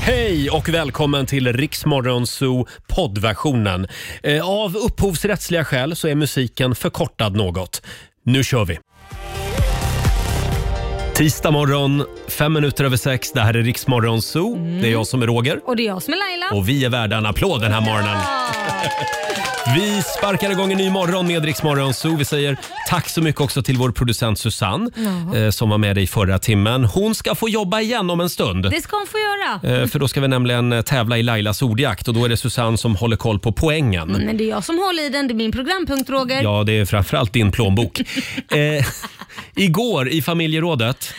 Hej och välkommen till Riksmorgon Zoo poddversionen. Eh, Av upphovsrättsliga skäl så är musiken förkortad något. Nu kör vi! Tisdag morgon, fem minuter över sex. Det här är Riksmorgon Zoo. Det är jag som är Roger. Och det är jag som är Laila. Och vi är värda en applåd den här morgonen. Vi sparkar igång en ny morgon med Rix Morgon Zoo. Vi säger tack så mycket också till vår producent Susanne Ja. eh, som var med dig förra timmen. Hon ska få jobba igen om en stund. Det ska hon få göra. Eh, För då ska vi nämligen eh, tävla i Lailas ordjakt och då är det Susanne som håller koll på poängen. Men det är jag som håller i den. Det är min programpunkt Roger. Ja, det är framförallt din plånbok. eh, igår i familjerådet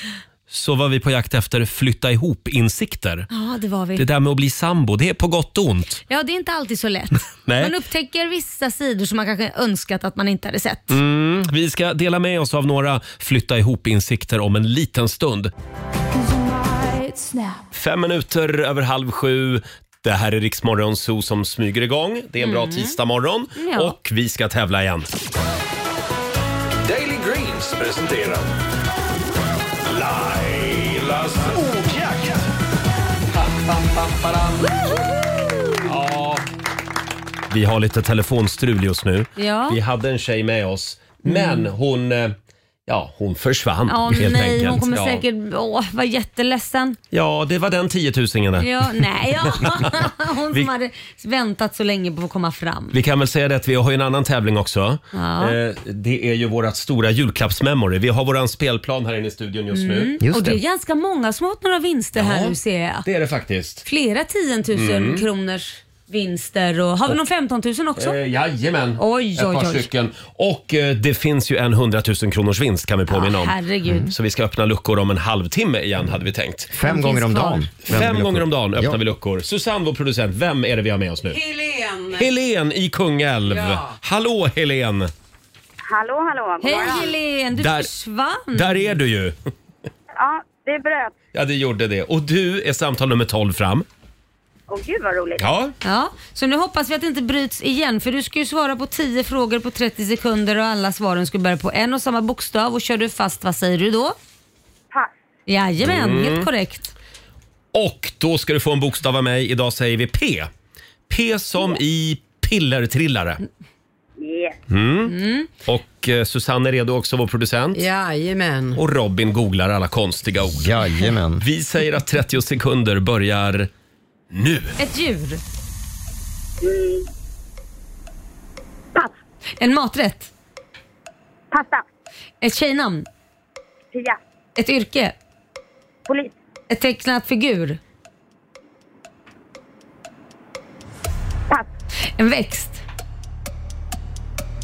så var vi på jakt efter flytta ihop-insikter. Ja, det var vi. Det där med att bli sambo, det är på gott och ont. Ja, det är inte alltid så lätt. Nej. Man upptäcker vissa sidor som man kanske önskat att man inte hade sett. Mm, vi ska dela med oss av några flytta ihop-insikter om en liten stund. Fem minuter över halv sju. Det här är Riksmorgon Zoo som smyger igång. Det är en bra tisdagmorgon Mm. Ja. och vi ska tävla igen. Daily Greens presenterar Lailas ordjakt. Ja. Vi har lite telefonstrul just nu. Ja. Mm. Vi hade en tjej med oss, men hon... eh, Ja, hon försvann Ja, helt nej, enkelt. hon kommer ja. säkert åh, vara jätteledsen. ja, det var den tiotusingen. det. Ja, nej, ja. Hon Vi- som hade väntat så länge på att komma fram. Vi kan väl säga det att vi har ju en annan tävling också. Ja. Eh, Det är ju vårat stora julklappsmemory. Vi har våran spelplan här inne i studion just nu. Mm. Och det är ganska många som har fått några vinster här Ja. Mm. nu ser jag. Det är det faktiskt. Flera 10 000 kronors vinster och har vi någon 15 000 också? Eh, jajamän, Oj, ett par oj, oj. stycken. Och eh, det finns ju en 100 000 kronors vinst kan vi påminna Ja, om. herregud. Så vi ska öppna luckor om en halvtimme igen hade vi tänkt. Fem gånger om kvar. dagen. Fem gånger om dagen öppnar Ja. vi luckor. Susanne, vår producent, vem är det vi har med oss nu? Helen! Helen i Kungälv. Hallå Helen! Hallå, hallå. god Hej morgon. Helen, du Där- försvann. Där är du ju! Ja, det bröt. Ja, det gjorde det. Och du är samtal nummer 12 fram. Åh gud vad roligt. Ja, Ja, så nu hoppas vi att det inte bryts igen för du ska ju svara på 10 frågor på 30 sekunder och alla svaren ska börja på en och samma bokstav och kör du fast, vad säger du då? Pass. Jajamän, Mm. helt korrekt. Och då ska du få en bokstav av mig. Idag säger vi P. P som i pillertrillare. Mm. Yes. Och eh, Susanne är redo också, vår producent. Jajamän. Och Robin googlar alla konstiga ord. Jajamän. Vi säger att 30 sekunder börjar nu. Ett djur, Pass. en maträtt, Pasta. ett tjejnamn, Pia. ett yrke, Polis. ett tecknat figur, Pass. en växt,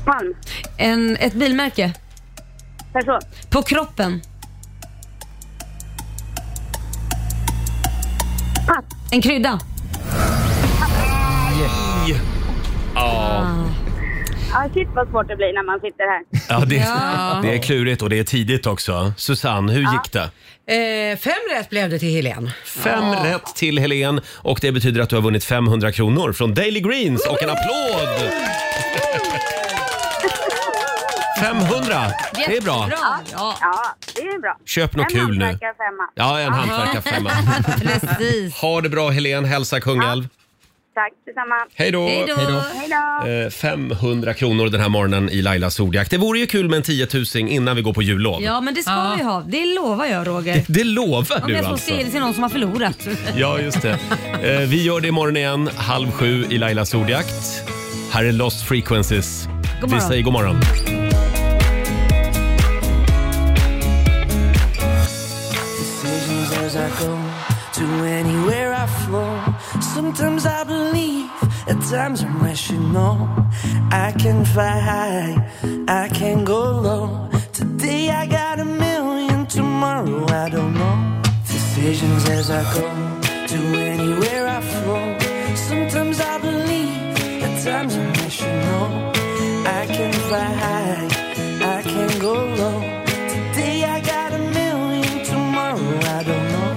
Palm. en, ett bilmärke, Person. på kroppen, Pass. en krydda. Ja, shit vad svårt det blir när man sitter här. Ja, det, det är klurigt och det är tidigt också. Susanne, hur gick det? Eh, fem rätt blev det till Helen. Fem rätt till Helen och det betyder att du har vunnit 500 kronor från Daily Greens och en applåd! 500, det är bra. Jättebra. Ja, Ja, det är bra. Köp något en kul nu. hantverkare femma. Ja, en hantverkarfemma. precis. Ha det bra Helen, hälsa Kungälv. Tack detsamma. Hej då! Hej då. Hej då. Eh, 500 kronor den här morgonen i Lailas ordjakt. Det vore ju kul med en 10 000 innan vi går på jullov. Ja, men det ska vi ha. Det lovar jag Roger. Det lovar Om du jag får alltså? se det till någon som har förlorat. Ja, just det. Eh, Vi gör det imorgon igen, halv sju i Lailas ordjakt. Här är Lost Frequencies. God Vi morgon. säger god morgon. decisions as I go to anywhere I flow. Sometimes I believe, at times I'm rational. I can fly high, I can go low. Today I got a million, tomorrow I don't know. Decisions as I go to anywhere I flow. Sometimes I believe, at times I'm rational. I can fly high, I can go low. Today I got a million, tomorrow I don't know.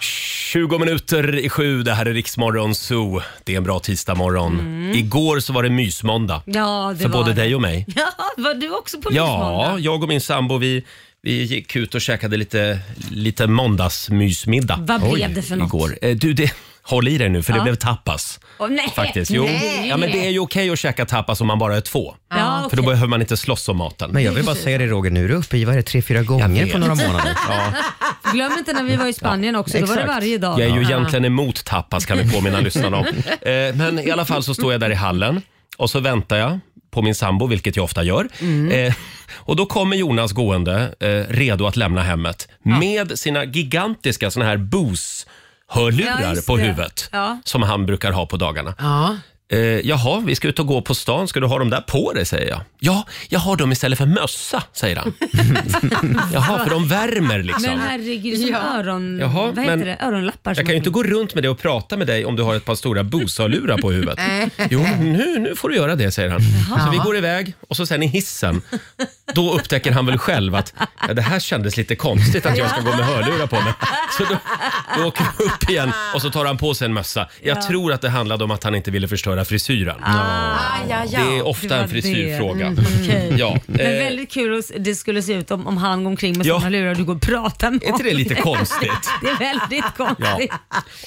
Tjugo minuter i sju, det här är Riksmorgon Zoo. Det är en bra tisdagmorgon. Igår så var det mysmåndag. Mm. Ja, det För var både det. dig och mig. Ja, var du också på Ja, Lyxmåndag? jag och min sambo vi, Vi gick ut och käkade lite, lite måndagsmysmiddag. Vad blev det för något? Igår. Eh, Du, det, håll i dig nu för det Ja. blev tapas. Åh, nej. Faktiskt. Jo, Nej. ja, men det är ju okej att käka tapas om man bara är två. Ja, För då okej. behöver man inte slåss om maten. Men jag vill bara säga det Roger, nu är du uppe i vad är det, tre, fyra Jag gånger vet. på några månader. Ja. Glöm inte när vi var i Spanien också, då var det exakt. varje dag. Jag är ju egentligen emot tapas kan vi påminna lyssnarna om. Eh, Men i alla fall så står jag där i hallen och så väntar jag på min sambo, vilket jag ofta gör. Mm. Eh, och då kommer Jonas gående, eh, redo att lämna hemmet med sina gigantiska såna här Ja, Bose-hörlurar just på det. huvudet Ja. som han brukar ha på dagarna. Ja. Eh, jaha, vi ska ut och gå på stan. Ska du ha dem där på dig? säger jag. Ja, jag har dem istället för mössa, säger han. jaha, för de värmer liksom. Men herregud, som öron... Jaha, vad heter men- det? Öronlappar. som Jag kan ju man- inte gå runt med det och prata med dig om du har ett par stora busalurar på huvudet. Jo, nu, nu får du göra det, säger han. Så vi går iväg och så sen i hissen, då upptäcker han väl själv att ja, det här kändes lite konstigt att jag ska gå med hörlurar på mig. Så då, då åker vi upp igen och så tar han på sig en mössa. Jag tror att det handlade om att han inte ville förstöra frisyren. Ah, Aj, aj, aj. Det är Det ofta var en frisyrfråga. det. Mm, Okej. Ja, Men eh, väldigt kul att det skulle se ut om, om han går omkring med Ja. sina lurar och du går och pratar med är inte det honom. lite konstigt? Det är väldigt Ja. konstigt.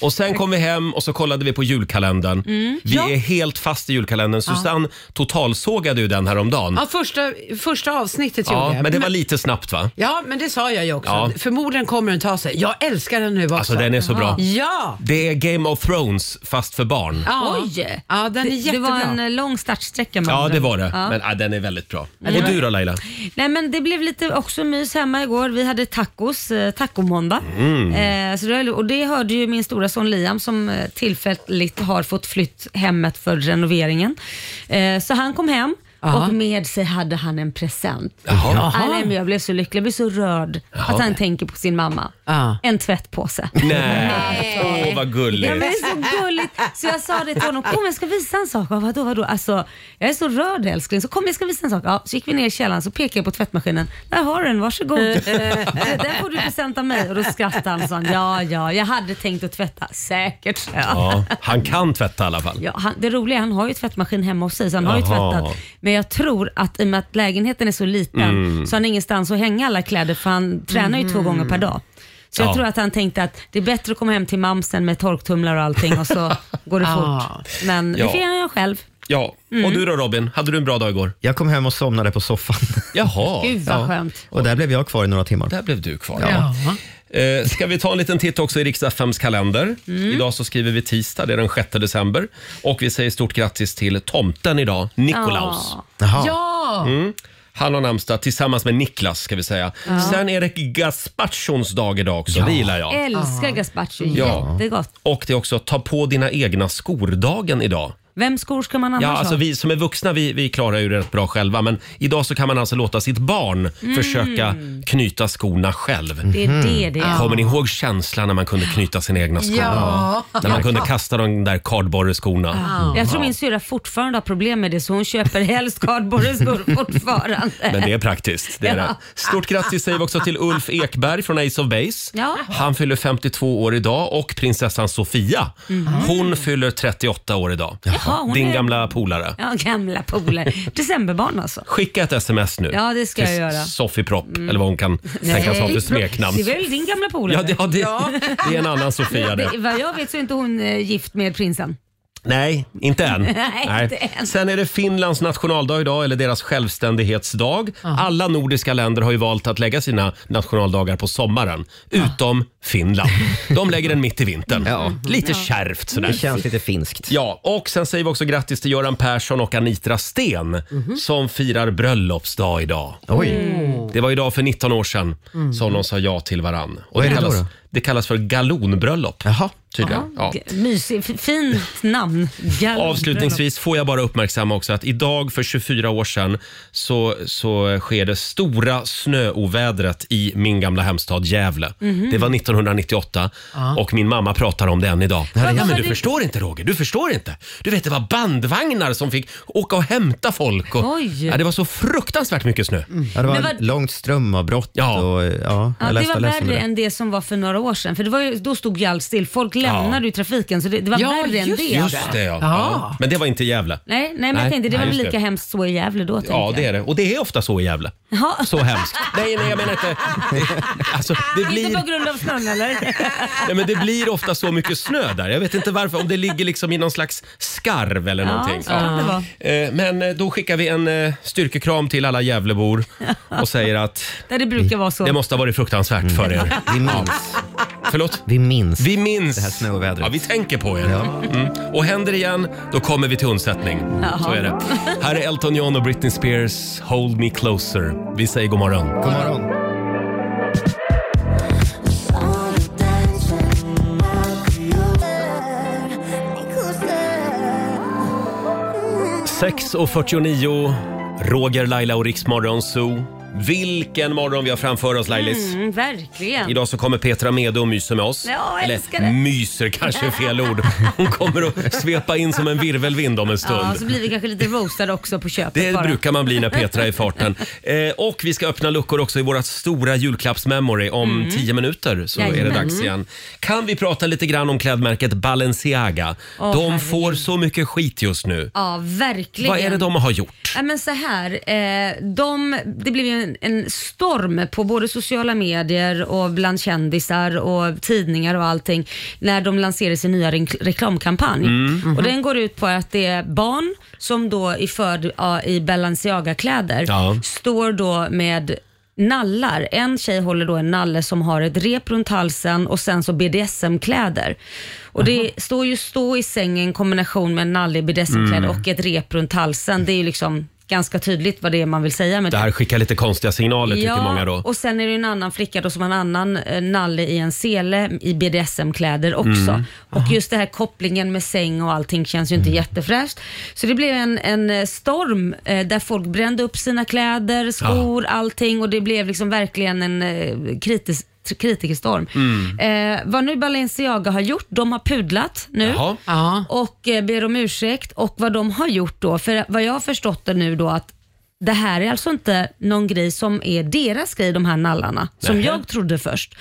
Och sen kom vi hem och så kollade vi på julkalendern. Vi Ja. är helt fast i julkalendern. Susanne totalsågade ju den häromdagen. ja första, första avsnittet Ja, gjorde jag. men det var lite snabbt va? Ja, men det sa jag ju också. Ja. Förmodligen kommer den ta sig. Jag älskar den nu också. Alltså den är så bra. Ja! Det är Game of Thrones fast för barn. ja! Oj! Ja, den är det, det jättebra. var en eh, lång startsträcka med Ja, andra det ord. var det. Ja. Men ah, den är väldigt bra. Och du då Laila? Nej men det blev lite också mys hemma igår. Vi hade tacos, eh, tacomåndag. Mm. Eh, så det, och det hörde ju min stora son Liam som eh, tillfälligt har fått flytt hemmet för renoveringen. Eh, så han kom hem Ja. och med sig hade han en present. Jaha. Nej, nej, men jag blev så lycklig, jag blev så rörd att han tänker på sin mamma. Ja. En tvättpåse. Nej, åh vad Ja, men det gulligt. är så gulligt. Så jag sa det till honom, kom jag ska visa en sak. Ja, Vadå, vadå? Alltså, jag är så rörd älskling, så kom jag ska visa en sak. Ja, så gick vi ner i källaren så pekade jag på tvättmaskinen. Där har du den, varsågod. Den får du present av mig. Och då skrattade han och sa, ja ja, jag hade tänkt att tvätta. Säkert, sa jag. Ja, han kan tvätta i alla fall. Ja, han, det roliga är han har ju tvättmaskin hemma hos sig så han har ju Jaha. tvättat. Men jag tror att i och med att lägenheten är så liten Mm. så har han ingenstans att hänga alla kläder för han tränar ju två gånger per dag. Så jag Ja. tror att han tänkte att det är bättre att komma hem till mamsen med torktumlar och allting och så går det Ah. fort. Men Ja. det får han göra själv. Ja. Och du då Robin? Hade du en bra dag igår? Jag kom hem och somnade på soffan Jaha. Gud vad skönt. och där blev jag kvar i några timmar. Där blev du kvar. Ja. Eh, ska vi ta en liten titt också i riksdagsfems kalender? Idag så skriver vi tisdag, det är den 6 december. Och vi säger stort grattis till tomten idag, Nikolaus. Mm. Ja. Jaha. ja. Han har namnsdag tillsammans med Niklas ska vi säga. Sen är det gazpachons dag idag också, det gillar Eh. jag. Älskar gazpacho, Ja. jättegott. Och det är också ta på dina egna skordagen idag. Vems skor ska man annars Ja, alltså ha? vi som är vuxna vi, vi klarar ju det rätt bra själva men idag så kan man alltså låta sitt barn försöka knyta skorna själv. Det är det det är. Kommer ni ihåg känslan när man kunde knyta sina egna skor? Ja. När man kunde kasta de där kardborreskorna. Jag tror min syrra fortfarande har problem med det så hon köper helst kardborreskor fortfarande. Men det är praktiskt. Det är det. Stort grattis säger vi också till Ulf Ekberg från Ace of Base. Ja. Han fyller 52 år idag och prinsessan Sofia, hon fyller 38 år idag. Mm. Jaha, hon Din är- gamla polare. Ja, gamla polare. Decemberbarn alltså. Skicka ett sms nu. Ja, det ska jag till göra. Mm. Sofie Propp, eller vad hon kan tänkas ha för smeknamn. Det är väl din gamla polare? Ja, det, ja, det, det är en annan Sofia det. Det- Vad jag vet så är inte hon eh, gift med prinsen. Nej, inte än. Nej, inte än. Sen är det Finlands nationaldag idag, eller deras självständighetsdag. Alla nordiska länder har ju valt att lägga sina nationaldagar på sommaren, utom Finland. De lägger den mitt i vintern. Ah. Mm-hmm. Ja. Lite kärvt sådär. Det känns lite finskt. Ja, och sen säger vi också grattis till Göran Persson och Anitra Sten som firar bröllopsdag idag. Mm-hmm. Mm. Oj. Mm. Det var idag för 19 år sedan som de sa ja till varann. Och är det då kallas, då? det kallas för galonbröllop. Jaha. Tydligen. Ja. G- Mysigt, f- fint namn. Gal- Avslutningsvis får jag bara uppmärksamma också att idag för 24 år sedan så, så sker det stora snöovädret i min gamla hemstad Gävle. Mhm. Det var 1998 och min mamma pratar om det än idag. Ja, men du förstår inte Roger, du förstår inte. Du vet det var bandvagnar som fick åka och hämta folk. Och, Oj. Mm. ja, det var så fruktansvart mycket snö. Ja, det var Men vad- långt strömavbrott Ja. och ja, jag Ja, det läste, var läste om värre det. än det som var för några några år sedan. För det var ju, då stod ju allt still. Folk lämnade ju trafiken så det, det var Ja, värre än just det. det. alltså. Just det ja. Ja. ja. Men det var inte Gävle. Nej, nej, men jag tänkte det var nej, väl just lika hemskt så i Gävle då. Ja, det är det. Och det är ofta så i Gävle. Ja. Så hemskt. Nej, nej, jag menar inte... Alltså, det blir... Inte på grund av snön eller? Nej, men det blir ofta så mycket snö där. Jag vet inte varför. Om det ligger liksom i någon slags skarv eller någonting. så kan det vara. Eh, Men eh, då skickar vi en eh, styrkekram till alla Gävlebor och säger att Där det brukar vara så. Mm. det måste ha varit fruktansvärt för er. Vi minns. Förlåt? Vi minns. Vi minns. Det här snöovädret. Ja, vi tänker på er. Mm. Och händer det igen, då kommer vi till undsättning. Så är det. Här är Elton John och Britney Spears, Hold Me Closer. Vi säger god morgon. God morgon. Thank 6.49, Roger, Laila och Riksmorgon Zoo. Vilken morgon vi har framför oss Lailis. Mm, verkligen. Idag så kommer Petra Mede och myser med oss. Ja, jag älskar Eller det. myser kanske är fel ord. Hon kommer att svepa in som en virvelvind om en Ja, så stund. blir vi kanske lite roastade också på köpet Det bara. brukar man bli när Petra är i farten. Eh, och vi ska öppna luckor också i våra stora julklappsmemory. Om tio minuter så är det Mm. Jajamän. Mm. dags igen. Kan vi prata lite grann om klädmärket Balenciaga? Åh, de herregud. får så mycket skit just nu. Ja, verkligen. Vad är det de har gjort? Nej, men så här, eh, de, det blev ju en, en storm på både sociala medier och bland kändisar och tidningar och allting när de lanserade sin nya re- reklamkampanj. Och den går ut på att det är barn som då är född ja, i Balenciaga-kläder Ja. står då med nallar. En tjej håller då en nalle som har ett rep runt halsen och sen så BDSM-kläder. Och det står ju stå i sängen i kombination med en nalle i BDSM-kläder Mm. och ett rep runt halsen. Det är ju liksom ganska tydligt vad det är man vill säga med Det här skickar lite konstiga signaler tycker många då. och sen är det ju en annan flicka då som har en annan eh, nalle i en sele i BDSM-kläder också. Mm. Och just det här kopplingen med säng och allting känns ju inte jättefräscht. Så det blev en, en eh, storm eh, där folk brände upp sina Ah. kläder, skor, allting och det blev liksom verkligen en eh, kritisk kritikerstorm. Mm. Eh, vad nu Balenciaga har gjort, de har pudlat nu Jaha. Ja. och eh, ber om ursäkt och vad de har gjort då. För vad jag har förstått det nu då att det här är alltså inte någon grej som är deras grej, de här nallarna, som Nähä. jag trodde först.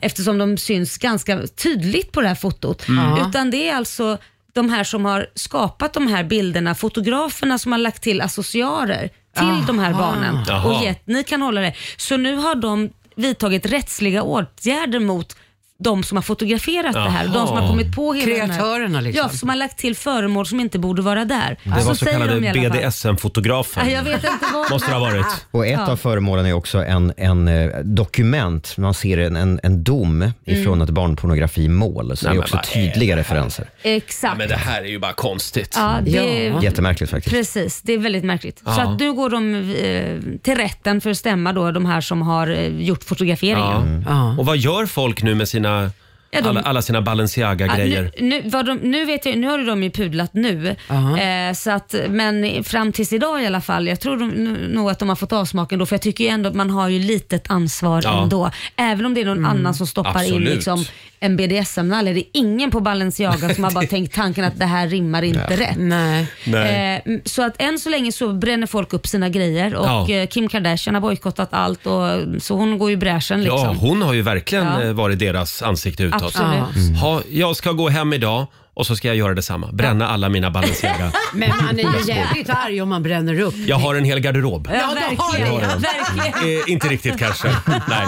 Eftersom de syns ganska tydligt på det här fotot. Mm. Utan det är alltså de här som har skapat de här bilderna, fotograferna som har lagt till accessoarer till de här barnen Jaha. och gett, ni kan hålla det. Så nu har de vidtagit rättsliga åtgärder mot de som har fotograferat det här, de som har Jaha. kommit på hela den här- Kreatörerna liksom. Ja, som har lagt till föremål som inte borde vara där. Det var så, Alltså, säger kallade de i alla fall. BDSM-fotografen. Nej, Jag vet inte vad. Måste det ha varit. Och ett av föremålen är också en, en eh, dokument. Man ser en, en, en dom ifrån ett barnpornografimål. Så Nej, det är men också vad är tydliga referenser. Ja, Exakt. men det här är ju bara konstigt. Ja, det, Ja. Jättemärkligt faktiskt. Precis, det är väldigt märkligt. Så Ja. att nu går de eh, till rätten för att stämma då de här som har eh, gjort fotograferingen. Ja. Ja. Och vad gör folk nu med sina, Ja, de- alla, alla sina Ja, Balenciaga-grejer? Äh, Nu, nu, vad de, nu, vet jag, nu har ju de ju pudlat nu, Aha. eh, så att, men fram tills idag i alla fall. Jag tror de, n- nog att de har fått avsmaken då, för jag tycker ju ändå att man har ju litet ansvar Ja. Mm. ändå. Även om det är någon annan som stoppar in Absolut. liksom, en BDSM-nalle. Det är ingen på Balenciaga som har bara tänkt tanken att det här rimmar inte rätt. Nej. Mm. Nej. Eh, m- så att än så länge så bränner folk upp sina grejer och Ja. eh, Kim Kardashian har bojkottat allt och, så hon går ju i bräschen liksom. Ja, hon har ju verkligen Ja. eh, varit deras ansikte utåt. Mm. Absolut. Ja. Ha, jag ska gå hem idag och så ska jag göra detsamma. Bränna alla mina Balenciaga. Men man är ju jävligt arg om man bränner upp. Jag har en hel garderob. Ja, Ja, då har verkligen. vi det. verkligen. Eh, inte riktigt kanske. Nej.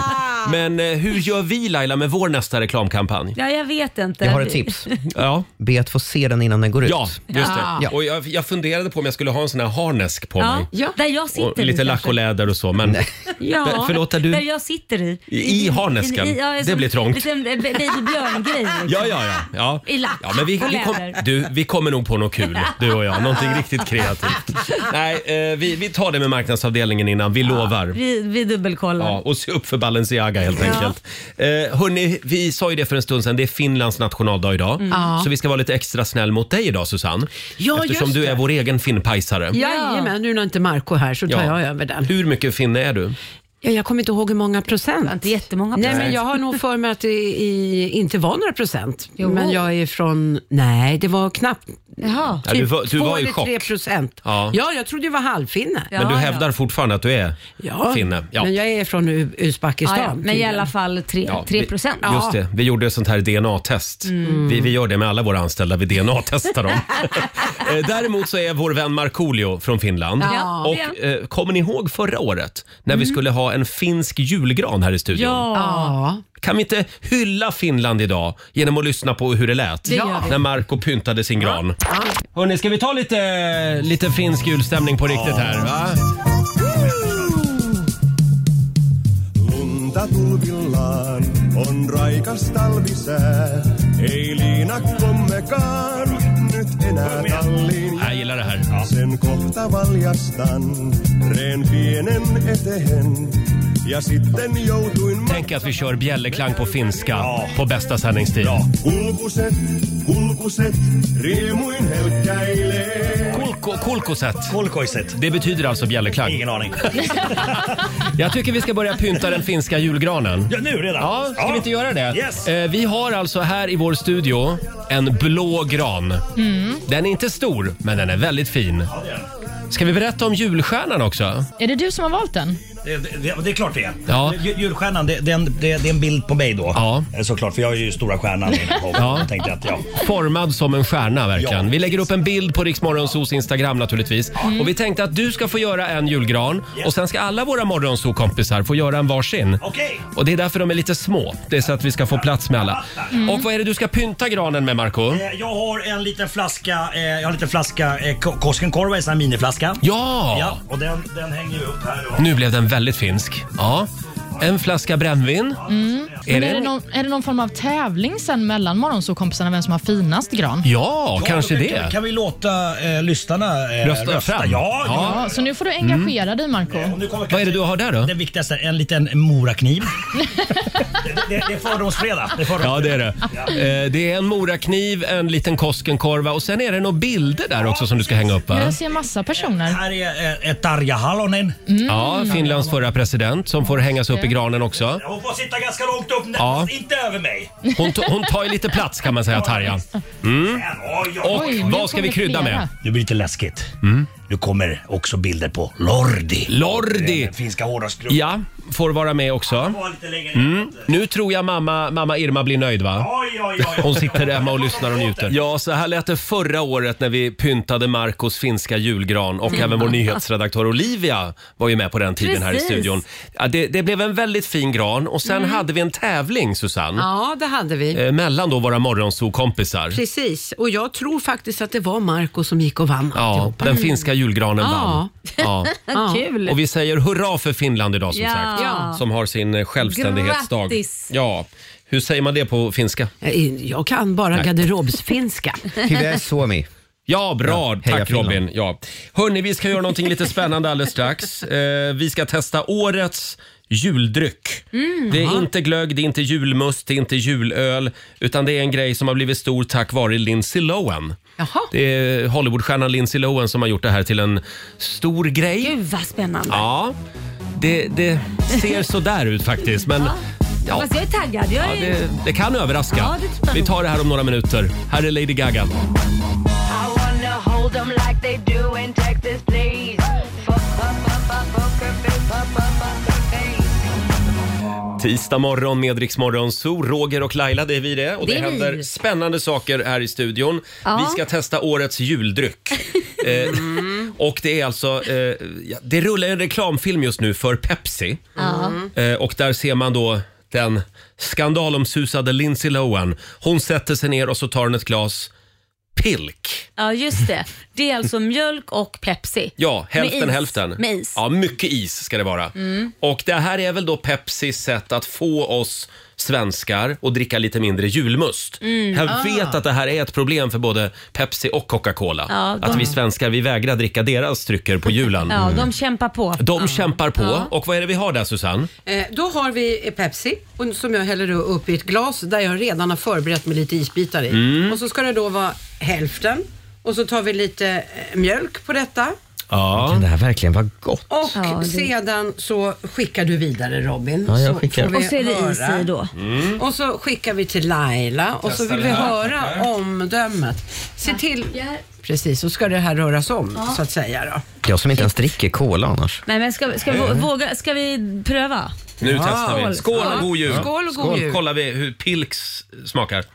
Men eh, hur gör vi Laila med vår nästa reklamkampanj? Ja, jag vet inte. Jag har ett tips. Ja, Be att få se den innan den går ut. ja just det. Ja. Och jag, jag funderade på om jag skulle ha en sån här harnesk på Ja, mig. Ja. Där jag sitter Och i lite lack kanske. och läder och så. Men Ja, Där- förlåt, där du- jag sitter i. I- i harnesken. jag är Det som blir trångt. Liten eh, Baby Björn-grej. liksom. Ja, ja, ja. ja. I lack ja men vi, och vi, kom, läder. du, vi kommer nog på något kul, du och jag. Någonting riktigt kreativt. Nej, eh, vi, vi tar det med marknadsavdelningen innan. Vi lovar. Vi, vi dubbelkollar. Ja, och se upp för Balenciaga helt enkelt. Eh, hörni, vi sa ju det för en stund sedan, det är Finlands nationaldag idag. Så vi ska vara lite extra snäll mot dig idag Susanne. Mm. Ja, eftersom just du det. är vår egen finnpajsare. Jajamän, nu när inte Marco här så tar jag över den. Hur mycket finne är du? Ja, jag kommer inte ihåg hur många procent. Inte jättemånga Nej, procent. men jag har nog för mig att det i, inte var några procent. Jo. Men jag är från, nej det var knappt Jaha. Ja, du, var- du Typ Två var i eller chock. tre procent. Ja. Ja. jag trodde jag var halvfinne. Men du Ja, ja. hävdar fortfarande att du är Ja, finne. Ja. men jag är från U- Uzbekistan. Ja, ja, men i tydligen. alla fall 3 Ja, vi- Eh, procent. Mm. Just det, vi gjorde ett sånt här DNA-test. Vi, vi gör det med alla våra anställda, vi DNA-testar dem. Eh, Däremot så är vår vän Markoolio från Finland. Ja, Och eh, kommer ni ihåg förra året när Mm. vi skulle ha en finsk julgran här i studion? Ja. Kan vi inte hylla Finland idag genom att lyssna på hur det lät gör vi. när Marco pyntade sin gran? Hörni, ska vi ta lite, lite finsk julstämning på riktigt här? Va? Lunta tulvillaan on raikas talvisää. Ei liinakkommekaan nyt enää talliin. Jag gillar det här. Sen kohta valjastan reen pienen eteen. Ja sitten joutuin ma- Tänk att vi kör bjällerklang på finska på bästa sändningstid. No. Kulkuset, kulkuset, riemuin helkkäilee. Kulko, kulkoset. Kolkoiset. Det betyder alltså bjällerklang. Ingen aning. Jag tycker vi ska börja pynta den finska julgranen. Ja, nu redan? Ja, ska vi inte göra det? Yes. Eh, vi har alltså här i vår studio en blå gran. Mm. Den är inte stor, men den är väldigt fin. Ska vi berätta om julstjärnan också? Är det du som har valt den? Det, det, det är klart det är. Ja. Ju- Julstjärnan, det, det, är en, det, det är en bild på mig då. Ja. Eh, Såklart, för jag är ju stora stjärnan. Ja. ja. tänkte jag att, ja. Formad som en stjärna verkligen. Ja. Vi lägger upp en bild på Riksmorgonsos Instagram naturligtvis. Mm. Och vi tänkte att du ska få göra en julgran och sen ska alla våra Morgonzoo-kompisar få göra en varsin. Okej. Och det är därför de är lite små. Det är så att vi ska få plats med alla. Och vad är det du ska pynta granen med Marco? Eh, Jag har en liten flaska, eh, jag har en liten flaska eh, Ko- Koskenkorva, en sån här miniflaska. Ja! Ja, och den, den hänger ju upp här. då. Nu blev den väldigt finsk. Ja. En flaska brännvin. Är Mm. Men är, det det? någon, är det någon form av tävling sen mellan morgonsåkompisarna vem som har finast gran? Ja, kanske då Kan, det. vi- kan vi låta eh, lyssnarna eh, Rösta fram. Ja, ja. Ja, så nu får du engagera dig Marco. Och nu kommer Vad är det du har där då? Den viktigaste, Mm. en liten morakniv. det, det, det är fördomsfredag. Det är fördoms... Ja, det är det. Eh, Det är en morakniv, en liten Koskenkorva och sen är det några bilder där också som du ska hänga upp va? Jag ser massa personer. Här är eh, ett Tarja Halonen. Ja, Finlands förra president som får hängas upp i granen också. Hon får sitta ganska långt upp, nästan Ja. inte över mig. Hon, t- hon tar ju lite plats kan man säga, Tarja. Här, oj, oj, Och oj. Oj, nu vad ska vi kommer krydda flera. med? Nu blir det lite läskigt. Mm. Nu kommer också bilder på Lordi. Lordi! Den finska hårdrocksgruppen. Ja, Mm. får vara med också. Var lite längre ner. Nu tror jag mamma, mamma Irma blir nöjd va? Oj, oj, oj. Hon sitter hemma och lyssnar och njuter. Ja, så här lät det förra året när vi pyntade Marcos finska julgran och även vår nyhetsredaktör Olivia var ju med på den tiden här i Precis. studion. Ja, det, det blev en väldigt fin gran och sen hade vi en tävling Susanne. Ja, det hade vi. Eh, mellan då våra morgonsokompisar. Precis, och jag tror faktiskt att det var Marco som gick och vann Ja, alltihopa. den finska julgranen Ja. vann. Ja. Ja. Kul. Och vi säger hurra för Finland idag som Ja. sagt. Ja. Som har sin eh, självständighetsdag. Grattis. Ja. Hur säger man det på finska? Eh, Jag kan bara garderobsfinska. Hyvä Suomi. Ja, bra. heja Tack Finland. Robin. Ja. Hörni, vi ska göra någonting lite spännande alldeles strax. Eh, vi ska testa årets juldryck. det är inte glögg, det är inte julmust, det är inte julöl, utan det är en grej som har blivit stor tack vare Lindsay Lohan. Jaha. Det är Hollywoodstjärnan Lindsay Lohan som har gjort det här till en stor grej. Gud vad spännande. Ja, det, det ser sådär ut faktiskt, men ja, Fast jag är taggad. Jag ja, är... det, det kan överraska. Ja, det tror jag vi tar det här om några minuter. Här är Lady Gaga. I wanna hold them like they do in Texas, please. Fuck, fuck, fuck, fuck, fuck her face, fuck, fuck, fuck her face. Tisdag morgon med Rix Morgon Zoo. Roger och Laila, det är vi det. Och det, Det är vi. händer spännande saker här i studion. Ja. Vi ska testa årets juldryck. eh, och det är alltså, eh, ja, det rullar en reklamfilm just nu för Pepsi. Eh, och där ser man då den skandalomsusade Lindsay Lohan. Hon sätter sig ner och så tar hon ett glas pilk. Ja, just det. Det är alltså mjölk och Pepsi. Ja, hälften Med is. hälften. Med is. Mm. Ja, mycket is ska det vara. Och det här är väl då Pepsis sätt att få oss svenskar att dricka lite mindre julmust. Mm. Ah. Jag vet att det här är ett problem för både Pepsi och Coca-Cola. Ja, de- Att vi svenskar, vi vägrar dricka deras drycker på julen. Ja, de kämpar på. Mm. De kämpar på. Och vad är det vi har där Susanne? Eh, Då har vi eh, Pepsi och- som jag häller då upp i ett glas där jag redan har förberett med lite isbitar Mm. i. Och så ska det då vara hälften och så tar vi lite eh, mjölk på detta. Ja. Kan det här verkligen vara gott? Och Ja, det- sedan så skickar du vidare Robin. Ja, jag skickar. får vi Och så är det is höra. i då. Mm. Och så skickar vi till Laila och Testa så vill det vi här, höra tackar. omdömet. Se till... Precis, så ska det här röras om så att säga då. Jag som inte ens dricker cola annars. Nej, men ska, ska, vi vå- våga, ska vi pröva? Nu Ja. testar vi. Skål Ja. och god jul. Skål och god jul. kollar vi hur Pilks smakar.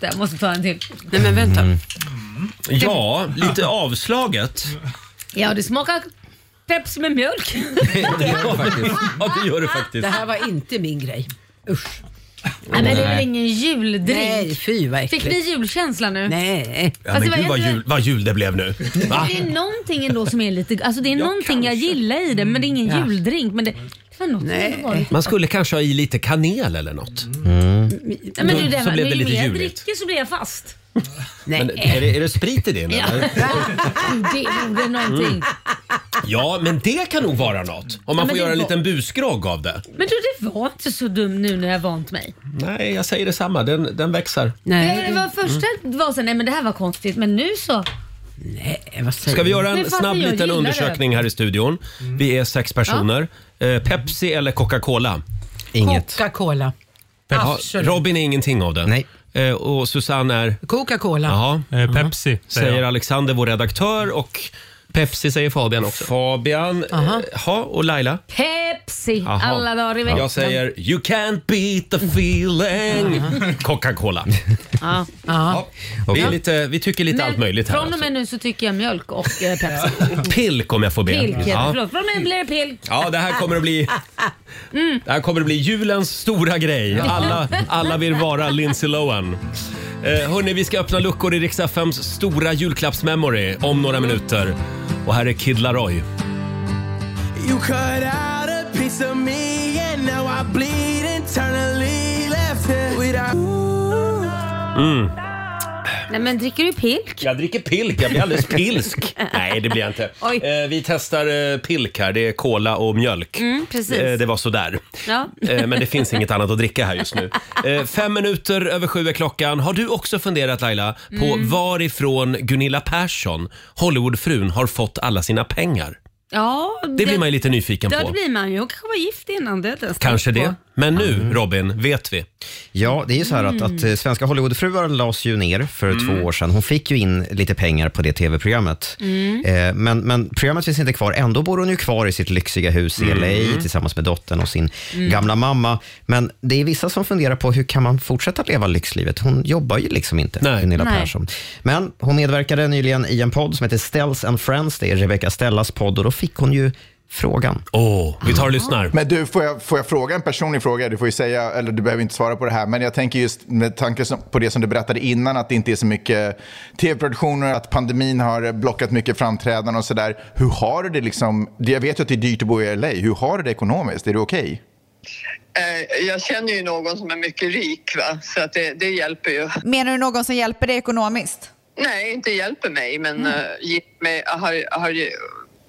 Jag måste ta en till. Nej men vänta. Mm. Ja, lite avslaget. Ja, det smakar Pepsi med mjölk. Det gör det faktiskt. Ja, det gör det faktiskt. Det här var inte min grej. Usch. Nej, men det är väl ingen juldrink? Nej, fy vad äckligt. Fick ni julkänsla nu? Nej. Ja, Fast men det var gud vad ändå- jul, vad jul det blev nu. Va? Det är någonting ändå som är lite... Alltså det är någonting jag gillar i det, men det är Mm, ingen juldrink. Men det, det var något som var lite... Man skulle kanske ha i lite kanel eller något. Mm. Nej, men du, det Så var, blev det ju lite mer jag juligt. dricker så blir jag fast. Men är, det, är det sprit i det? nu, Ja. eller? Det gjorde någonting. Ja, men det kan nog vara något. Om man men får det göra en var- liten busgrogg av det. Men du, det var inte så dumt nu när jag vant mig. Nej, jag säger detsamma. Den, den växer. Det Mm. var första det var så nej men det här var konstigt, men nu så. Nej, vad säger Ska vi göra Mm. Men en fast snabb jag liten gillar undersökning här i studion? Vi är sex personer. Eh, Pepsi eller Coca-Cola? Inget. Coca-Cola. Ja, Absolut. Robin är ingenting av det. Nej. Eh, Och Susanne är? Coca-Cola. Jaha. Mm. Eh, Pepsi säger Säger jag. Alexander, vår redaktör. Och Pepsi säger Fabian också. Fabian. Aha. Ja, och Laila? Pepsi Jaha. alla dagar i veckan. Jag säger “You can't beat the feeling”. Mm. Coca-Cola. Ja. Ja. Vi, är lite, vi tycker lite Men allt möjligt här. Från och med nu så tycker jag mjölk och eh, Pepsi. alltså. Pilk om jag får be. Pilk heter det. ja. Förlåt, från och med blir det pilk. ja, det här kommer att bli... Mm. Det här kommer att bli julens stora grej. Alla, alla vill vara Lindsay Lohan. Eh, hörni, vi ska öppna luckor i Rix FMs stora julklappsmemory om några minuter. Och här är Kid Laroi. You cut out a piece of me and now I bleed internally left here without Mm. Nej alltså- men dricker du pilk? Jag dricker pilk, jag blir alldeles pilsk. Nej, det blir jag inte. Oj. Eh, vi testar eh, pilk här, det är cola och mjölk. Mm, precis. Eh, det var sådär. Ja. Eh, men det finns inget annat att dricka här just nu. Eh, fem minuter över sju är klockan. Har du också funderat Laila på Mm. varifrån Gunilla Persson, Hollywoodfrun, har fått alla sina pengar? Ja, Det blir man ju lite nyfiken Ja, på. det blir man ju. Hon kanske var gift innan döden. Kanske det. Men nu Robin, vet vi. Ja, det är ju så här att, Mm. att eh, Svenska Hollywoodfruar lades ju ner för två år sedan. Hon fick ju in lite pengar på det tv-programmet. Mm. Eh, men, men programmet finns inte kvar. Ändå bor hon ju kvar i sitt lyxiga hus i Mm. LA tillsammans med dottern och sin gamla mamma. Men det är vissa som funderar på hur kan man fortsätta leva lyxlivet? Hon jobbar ju liksom inte, Nej. Gunilla Nej. Persson. Men hon medverkade nyligen i en podd som heter Stells and Friends. Det är Rebecca Stellas podd och då fick hon ju frågan. Åh, vi tar och lyssnar. Men Eh, du, får jag, får jag fråga en personlig fråga? Du får ju säga, eller du behöver inte svara på det här, men jag tänker just med tanke som- på det som du berättade innan, att det inte är så mycket tv-produktioner, att pandemin har blockat mycket framträdanden och sådär. Hur har du det liksom? Jag vet ju att det är dyrt att bo i LA. Hur har du det ekonomiskt? Är det okej? Eh, Jag känner ju någon som är mycket rik, va? så att det, det hjälper ju. Menar du någon som hjälper dig ekonomiskt? Nej, inte hjälper mig, men mm. mig, jag har, jag har ju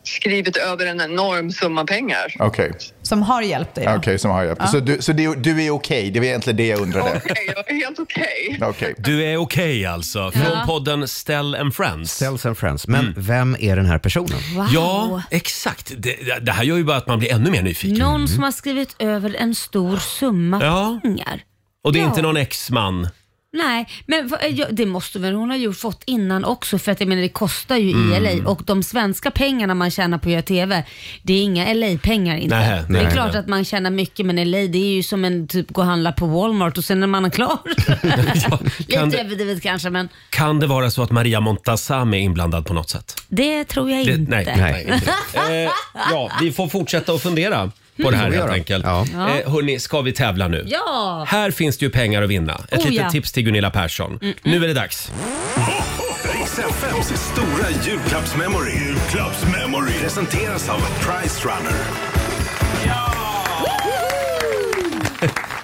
skrivit över en enorm summa pengar. Okej, Som har hjälpt dig? okej som har jag. Så, du, så det, du är okej? Det var egentligen det jag undrade. Okej, jag är helt okej. Okej. Du är okej alltså, från podden Stell and Friends. Stells and Friends. Men vem är den här personen? Wow. Ja, exakt. Det, det här gör ju bara att man blir ännu mer nyfiken. Någon som har skrivit över en stor summa Mm. Ja. pengar. Och det är Ja. inte någon ex-man. Nej, men vad- ja, det måste väl hon ha gjort, fått innan också för att jag menar det kostar ju Mm. i LA och de svenska pengarna man tjänar på att göra TV, det är inga LA-pengar inte. Nej, det är nej, klart nej. att man tjänar mycket men LA det är ju som en typ gå och handla på Walmart och sen när man är klar. kan Lite det- överdrivet kanske men Kan det vara så att Maria Montazami är inblandad på något sätt? det tror jag Det, inte. nej. nej. inte det. Eh, ja, vi får fortsätta att fundera på det här vi helt göra. enkelt. Ja. Eh, hörni, ska vi tävla nu? Mm. Ja! Här finns det ju pengar att vinna. Ett Oh, litet ja. Mm, tips till Gunilla Persson. Nu är det dags. Riks-FMs stora julklappsmemory. Julklappsmemory. Presenteras av Price Runner.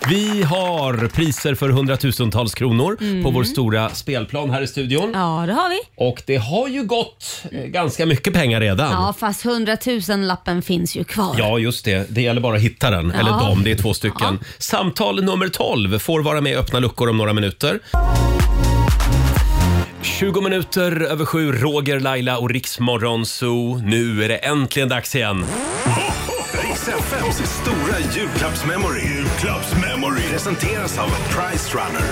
Vi har priser för hundratusentals kronor på vår stora spelplan här i studion. Mm. Ja, det har vi. Och det har ju gått eh, ganska mycket pengar redan. Ja, fast 100 000 lappen finns ju kvar. Ja, just det. Det gäller bara att hitta den. Eller Ja. dem, det är två stycken. Samtal nummer 12 får vara med i Öppna luckor om några minuter. 20 minuter över sju, Roger, Laila och Riksmorgon Zoo. Nu är det äntligen dags igen. Riks FMs stora julklappsmemory. Julklappsmemory. Presenteras av Price Runner.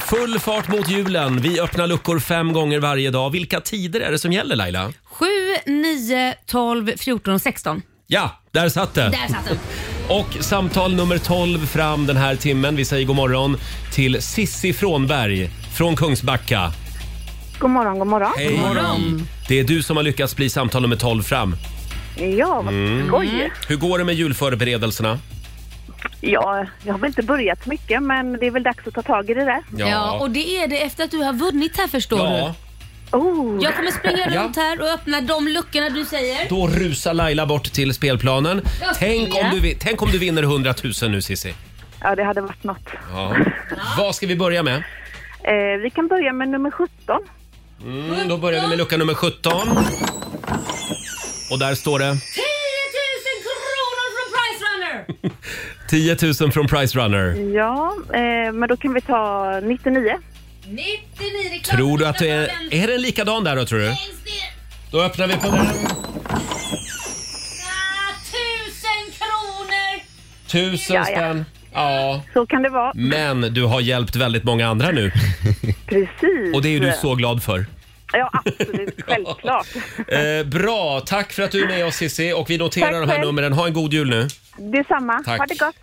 Full fart mot julen. Vi öppnar luckor fem gånger varje dag. Vilka tider är det som gäller Laila? 7, 9, 12, 14 och 16. Ja, där satt det. Där satt den. Och samtal nummer 12 fram den här timmen. Vi säger god morgon till Sissi Frånberg från Kungsbacka. God morgon, god morgon. Hej. God morgon. Det är du som har lyckats bli samtal nummer 12 fram. Ja, vad Mm. skoj. Hur går det med julförberedelserna? Ja, jag har väl inte börjat mycket, men det är väl dags att ta tag i det där. Ja. Ja, och det är det efter att du har vunnit här förstår Ja. du. Oh. Jag kommer springa Ja. runt här och öppna de luckorna du säger. Då rusar Laila bort till spelplanen. Ja, Tänk om ja. du, vi- tänk om du vinner 100 000 nu Sissi. Ja, det hade varit något. Ja. Vad ska vi börja med? Eh, vi kan börja med nummer 17. Mm, då börjar vi med lucka nummer 17. Och där står det 10 000 kronor från Price Runner! 10 000 från Price Runner. Ja, eh, men då kan vi ta 99. 99, det är klart Tror du vi att ska det ta är... den. Är den likadan där då tror du? Då öppnar vi på den. 1000 Ah, kronor! Tusen Ja, ja. spänn. Ja. Så kan det vara. Men du har hjälpt väldigt många andra nu. Precis. Och det är ju du så glad för. Ja, absolut. Självklart. Eh, bra, tack för att du är med oss Cissi och vi noterar Tack de här själv. numren. Ha en god jul nu. Detsamma. Tack. Ha det gott.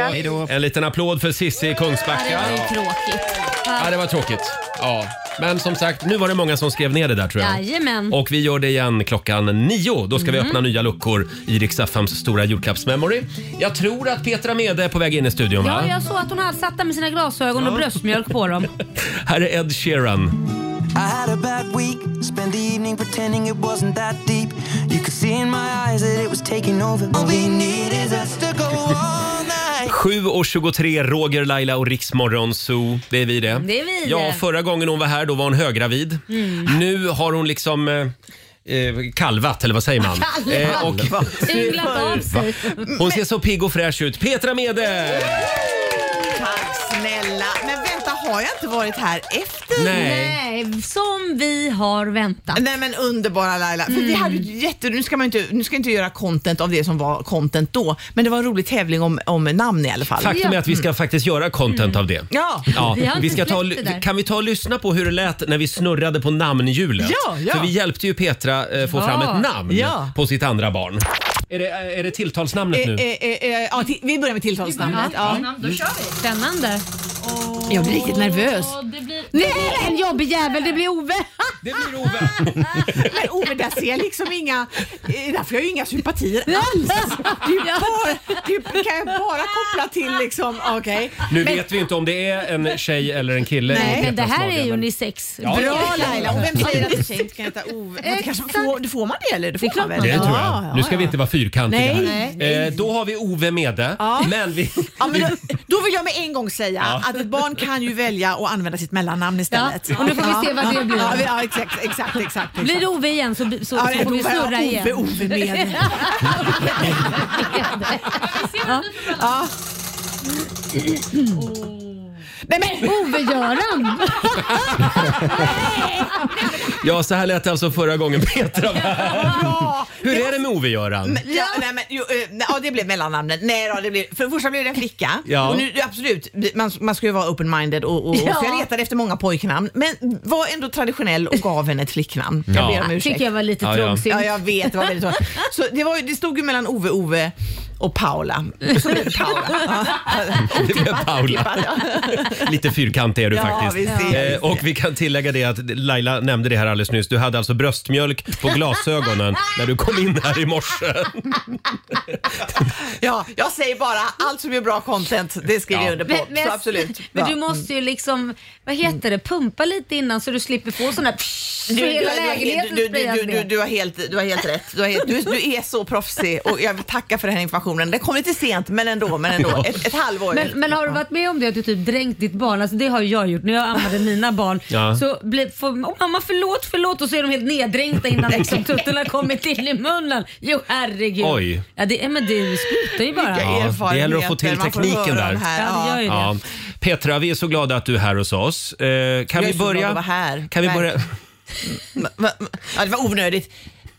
Hej då. En liten applåd för Cissi i Kungsbacka. Tråkigt. Ja, det var tråkigt. Ja. Men som sagt, nu var det många som skrev ner det där tror jag. Jajamän. Och vi gör det igen klockan nio. Då ska vi Mm. öppna nya luckor i Rix FMs stora julklappsmemory. Jag tror att Petra Mede är på väg in i studion va? Ja, jag såg att hon hade satt där med sina glasögon och bröstmjölk på dem. Här är Ed Sheeran. I had a bad week, spent the evening pretending it wasn't that deep. You could see in my eyes that it was taking over. All we need is us to go all night. 7.23, Roger, Laila och Rix Morgon Zoo. Det är vi det. Det är vi det. Ja, förra gången hon var här då var hon höggravid. Mm. Nu har hon liksom eh, eh, kalvat, eller vad säger man? Eh, och- Ynglat av sig. hon ser så pigg och fräsch ut. Petra Mede! Tack snälla. Men vänta, har jag inte varit här efter? Nej. som vi har väntat. Nej men underbara Laila. För vi hade ju jätte, nu ska man inte, nu ska jag inte göra content av det som var content då, men det var en rolig tävling om, om namn i alla fall. Faktum är att vi ska faktiskt göra content av det. Ja. Vi har vi inte ska ta, släppt det där. kan vi ta och lyssna på hur det lät när vi snurrade på namnhjulet? Ja, ja. För vi hjälpte ju Petra eh, få Ja. fram ett namn Ja. på sitt andra barn. Är det, är det tilltalsnamnet nu? Eh, eh, eh, ja, ti- vi börjar med tilltalsnamnet. Ja, då kör vi. Spännande. Jag blir riktigt nervös. Nej, en jobbig jävel. Det blir Ove. Det blir Ove. Men Ove, där ser jag liksom inga... eh, Där får jag ju inga sympatier alls. Det, är ju bara, det är- kan jag bara koppla till liksom... Okej. Nu Men- vet vi inte om det är en tjej eller en kille. i Nej, men det här Petras mage, är ju men- unisex. Ja, Bra ja. Laila! Och vem säger att en tjej inte kan heta Ove? Men det kanske får, får man det eller? Det får det man väl? Det tror Ja, jag. ja, Nu ska vi inte vara fyrkantiga Nej. här. Nej. Eh, då har vi Ove Mede. Ja. Men vi, Ja, men då, då vill jag med en gång säga Ja. att ett barn kan ju välja att använda sitt mellannamn istället. Ja, och nu får vi se vad det blir. Ja, ja exakt, exakt, exakt. exakt. Blir det Ove igen så, så, Ja, så det får vi tror snurra jag. Ove, igen. Ove med. Ja. Ja. Nej men Ove-Göran! ja, så här lät det alltså förra gången Petra var här. Ja. Hur är det med Ove-Göran? Men- Ja, nej, men, jo, eh, nej, ja, det blev mellannamnet. Nej då, det blev, för det första blev det en flicka. Ja. Och nu, absolut, man, man ska ju vara open-minded och, och, Ja. så jag letade efter många pojknamn. Men var ändå traditionell och gav henne ett flicknamn. Ja. Jag ber om Det ursäkt. tycker Mm. jag var lite ja, trångsynt. Ja. jag vet. Det, var väldigt trångt. så det, var, ju- det stod ju mellan Ove, Ove och Paula. Så blev det Paula. Ja. Det blev Paula. Lite fyrkantig är du Ja, faktiskt. visst är jag, Eh, och vi kan tillägga det att Laila nämnde det här alldeles nyss. Du hade alltså bröstmjölk på glasögonen när du kom in här i morse. Ja, jag säger bara allt som är bra content, det skriver Ja. jag under på. Men- men- så absolut. Men Ja. du måste ju liksom, vad heter det, pumpa lite innan så du slipper få sån där psh, Du, så du, hela du, lägenheten du, sprayas du, du, med. du, har helt, du har helt rätt. Du, har helt, du, du är så proffsig och jag vill tacka för den här informationen. Den kom lite sent men ändå. Men ändå. Ett, ett halvår. Men, men har du varit med om det att du typ dränkt ditt barn? Alltså det har ju jag gjort när jag ammade mina barn. Ja. Så blir, får, "Åh, mamma förlåt, förlåt och så är de helt neddränkta innan liksom, tutten har kommit in i munnen. Jo herregud. Oj. Ja, det, är- men det sprutar ju bara. Ja, det gäller att få till erfarenheter man får tekniken höra där. om här. Ja, det gör ju det. Petra, vi är så glada att du är här hos oss. Eh, kan, Jag är vi så glad att börja, vara här. kan vi börja... Verkligen. Ja, det var onödigt.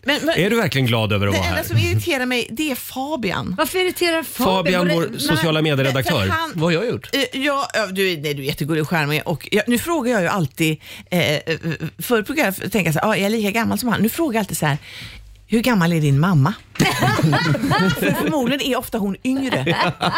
Men, men, Är du verkligen glad över att det vara enda här? som irriterar mig, det är Fabian. Varför irriterar Fabian, vår sociala medieredaktör. Vad har jag gjort? Eh, Ja, ja, du, är- nej, du är jättegullig och charmig. Och jag, nu frågar jag ju alltid, eh, eh, förut brukade jag tänka så här, ah, jag är lika gammal som han. Nu frågar jag alltid så här, hur gammal är din mamma? För förmodligen är ofta hon yngre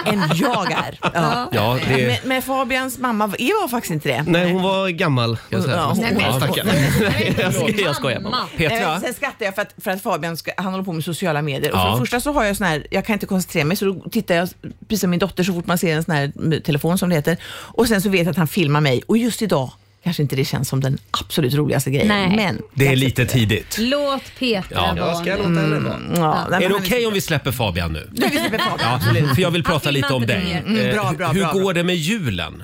än jag är. Ja. Ja, det- men, men Fabians mamma var faktiskt inte det. Nej, hon var gammal. Kan jag säga. Ja, hon- Ja, Nej, men- stackare. Nej, jag skojar, jag skojar bara. Eh, Petra, Sen skrattar jag för att, för att Fabian ska, han håller på med sociala medier. Och för Ja. det första så har jag sån här, jag kan inte koncentrera mig så då tittar jag, precis som min dotter, så fort man ser en sån här m- telefon som det heter. Och sen så vet jag att han filmar mig. Och just idag kanske inte det känns som den absolut roligaste grejen. Nej. Men det är lite tidigt. Låt Petra Ja. vara Jag ska låta nu. henne Ja, Är det okej om vi släpper Fabian nu? Nu är liksom. vi släpper Ja, för jag vill prata lite om dig. Mm, Eh, bra, bra, hur bra, bra. går det med julen?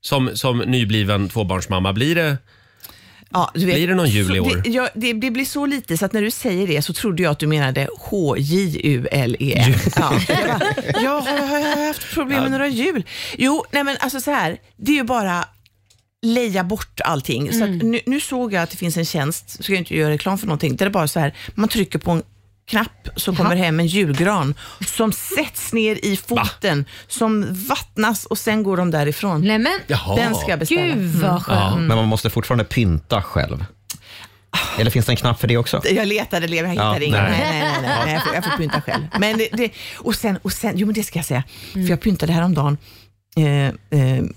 Som, som nybliven tvåbarnsmamma, blir det, Ja, du vet, blir det någon jul så, i år? Det, ja, det, det blir så lite så att när du säger det så trodde jag att du menade H-J-U-L-E. E Ja, jag bara, ja, har jag- har jag haft problem med några jul? Jo, nej men alltså så här, det är ju bara leja bort allting. Så att nu, nu såg jag att det finns en tjänst, så ska jag inte göra reklam för någonting, där det bara så här, man trycker på en knapp så kommer hem en julgran som sätts ner i foten, som vattnas och sen går de därifrån. Mm. Nej, men, Jaha. Den ska jag beställa. Gud, vad Mm. Ja, men man måste fortfarande pynta själv. Eller finns det en knapp för det också? Jag letade, lev, jag hittade Ja, ingen. nej. Nej, nej, nej, nej, nej jag, får, jag får pynta själv. Men det, det, och, sen, och sen, jo men det ska jag säga, för jag pyntade häromdagen. Eh, eh,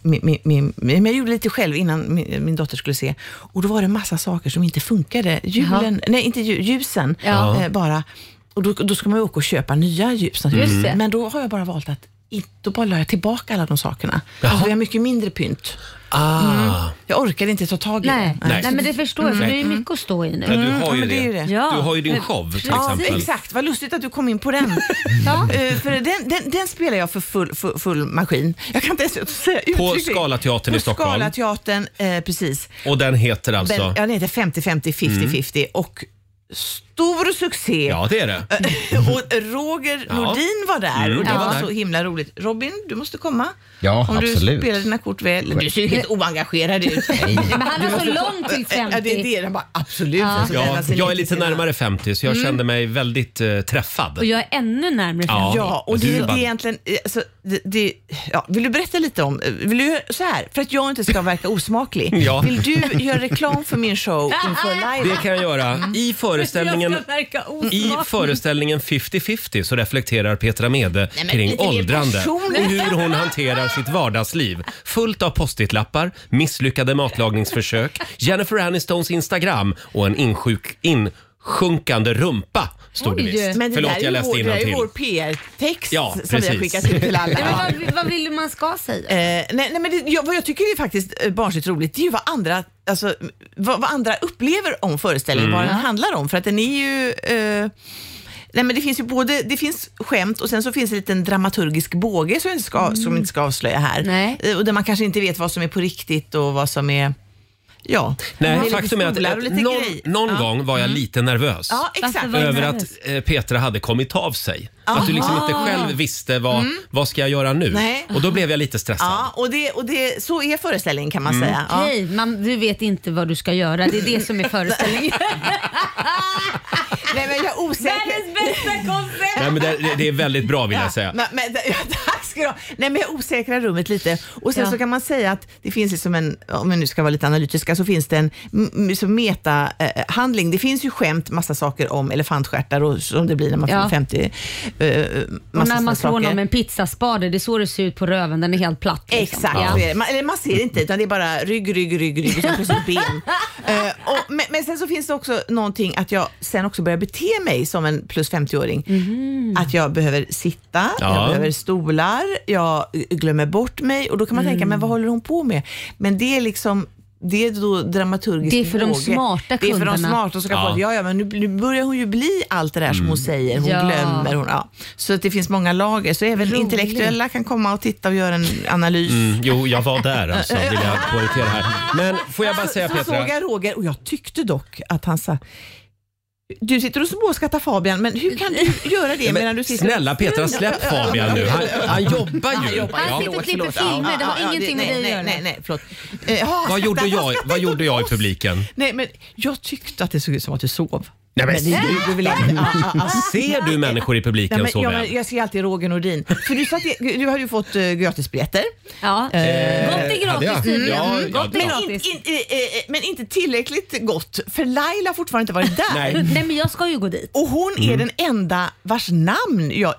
min, min, min, men jag gjorde lite själv innan min, min dotter skulle se. Och då var det massa saker som inte funkade. Julen, nej inte ju, ljusen Ja. eh, bara. Och då, då ska man ju åka och köpa nya ljus naturligtvis. Just det. Mm. Men då har jag bara Mm. valt att i- då bara la jag tillbaka alla de sakerna. Jaha. Så vi har mycket mindre pynt. Mm. Ah. Jag orkade inte ta tag i Nej. det. Nej. Nej, men det förstår jag, för Nej. Mm. det är mycket att stå i nu. Ja, du har ju Mm, men det är det. ju det. Du har ju din show till ja, exempel. exakt. Vad lustigt att du kom in på den. Eh, för den, den, den spelar jag för full, full, full maskin. Jag kan inte ens säga På uttryckligen. Scalateatern i Stockholm. På Scalateatern, eh, precis. Och den heter Den, alltså? ja, den heter 50-50, 50-50 och stor succé. Ja, det är det. Eh, och Roger Ja. Nordin var där Mm, och det jag var var där. så himla roligt. Robin, du måste komma. Ja, Om du absolut. spelar dina kort väl. Du ser ju helt oengagerad ut. Nej. Men han Du har så måste- långt till 50. Ja, det är det. Den bara, absolut. Alltså, den Ja, har sin jag är lite närmare 50 så jag Mm. kände mig väldigt eh, träffad. Och jag är ännu närmare Ja. framtiden. Ja, och du det, vann. det är egentligen... Alltså, det, det, ja, vill du berätta lite om... eh, Vill du, göra- så här, för att jag inte ska verka osmaklig. Ja. Vill du göra reklam för min show inför live? Det kan jag göra. I föreställningen, Jag ska verka i osmaklig. föreställningen 50-50 så reflekterar Petra Mede Nej, men kring lite mer åldrande och personligt. hur hon hanterar sitt vardagsliv. Fullt av postitlappar, misslyckade matlagningsförsök, Jennifer Anistons Instagram och en insjuk, insjunkande rumpa, stod det visst. Men det där Förlåt, är ju jag vår- läste Det där är innantill. ju vår PR-text Ja, som vi har precis. skickat ut till alla. Ja, men Vad, vad vill du man ska säga? Eh, nej, nej, men det, jag, vad jag tycker är faktiskt eh, barnsligt roligt, det är ju vad andra, alltså, vad, vad andra upplever om föreställningen, Mm. vad den handlar om. För att den är ju... Eh, nej, men det finns ju både det finns skämt och sen så finns det en liten dramaturgisk båge som jag inte ska, Mm. som jag inte ska avslöja här. Eh, och där man kanske inte vet vad som är på riktigt och vad som är... Ja. Det Nej, lite faktum är stolar att och eh, lite någon, grejer. någon Ja. Mm. gång var jag lite nervös. Ja, exakt. Över att eh, Petra hade kommit av sig. Att du liksom Aha. Mm. inte själv visste vad, vad ska jag göra nu. Nej. Och då blev jag lite stressad. Ja, och, det, och det, så är föreställningen kan man Mm. säga. Ja. Okej, man, du vet inte vad du ska göra. Det är det som är föreställningen. Nej, men jag är osäker. Världens bästa koncept! Nej, men det, det- det är väldigt bra vill jag säga. Men, men, ja, tack ska du ha. Nej, men jag osäkrar rummet lite. Och sen Ja. så kan man säga att det finns liksom en, om jag nu ska vara lite analytiska, så finns det en m- liksom m- som meta-handling. det finns ju skämt, massa saker om elefantstjärtar och som det blir när man Ja. fyller 50. Eh, Och massa när man slår såna saker. någon med en pizzaspade, det är så det ser ut på röven. Den är helt platt. liksom. Exakt, Ja. så är det. Man, eller man ser inte utan det är bara rygg, rygg, rygg, rygg och sen plötsligt ben. Eh, och, men, men sen så finns det också någonting att jag sen också börjar bete mig som en plus 50-åring. Att jag behöver sitta, Ja. jag behöver stolar, jag glömmer bort mig och då kan man tänka, Mm. men vad håller hon på med? Men det är liksom det är då dramaturgiskt Det är för de båge. smarta Det är för de kunderna. smarta som ska Ja. få att, ja, ja, men nu, nu börjar hon ju bli allt det där som hon Mm. säger. Hon Ja. glömmer. Hon, ja. Så att det finns många lager. Så även Roligt. intellektuella kan komma och titta och göra en analys. Mm, jo, jag var där alltså, vill jag poängtera här. Men får jag bara säga Alltså, så, så såg Petra, jag Roger och jag tyckte dock att han sa Du sitter och småskrattar Fabian, men hur kan du göra det Men medan du sitter snälla Petra, släpp Fabian nu. Han- han jobbar ju. Han sitter och förlåt, klipper förlåt. filmer, det har Ja, ja, ingenting med nej, dig att nej, göra. Nej, nej, förlåt. Eh, ha, Vad gjorde skrattar, jag, skrattar vad inte gjorde jag i åt oss. publiken? Nej, men jag tyckte att det såg ut som att du sov. Nej, men det gjorde väl inte. Ah, ah, ah. Ser du människor i Nej, publiken men, så ja, väl? men jag ser alltid Roger Nordin. För du, satt, i- du hade ju fått uh, gratisbiljetter. Ja. Eh, Gott är gratis hade jag? tydligen. Ja, Mm, ja, gott är men, in, gratis. in, eh, eh, men inte tillräckligt gott, för Laila har fortfarande inte varit där. Nej. Nej, men jag ska ju gå dit. Och hon är Mm. den enda vars namn jag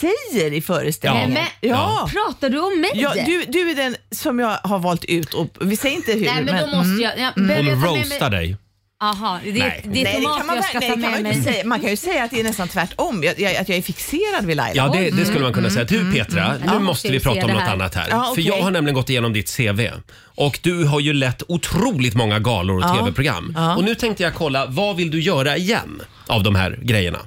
säger i föreställningen. Nej, men, Pratar du om mig? Ja, du, du är den som jag har valt ut och vi säger inte hur. Nej, men då måste jag- jag behöver Hon jag ta med mig- roastar dig. Jaha, det, Nej. det är Nej, tomat kan man, jag väl- ska nej, ta kan med man, ju mig. säga, Eh, man kan ju säga att det är nästan tvärtom, jag, jag, att jag är fixerad vid Laila. Ja, det, det skulle man kunna säga. Du Petra, nu mm, Ja, måste vi vi ser prata om det något här. annat här. Ja, För jag okej. har nämligen gått igenom ditt CV och du har ju lett otroligt många galor och Ja. tv-program. Ja. Och nu tänkte jag kolla, vad vill du göra igen av de här grejerna?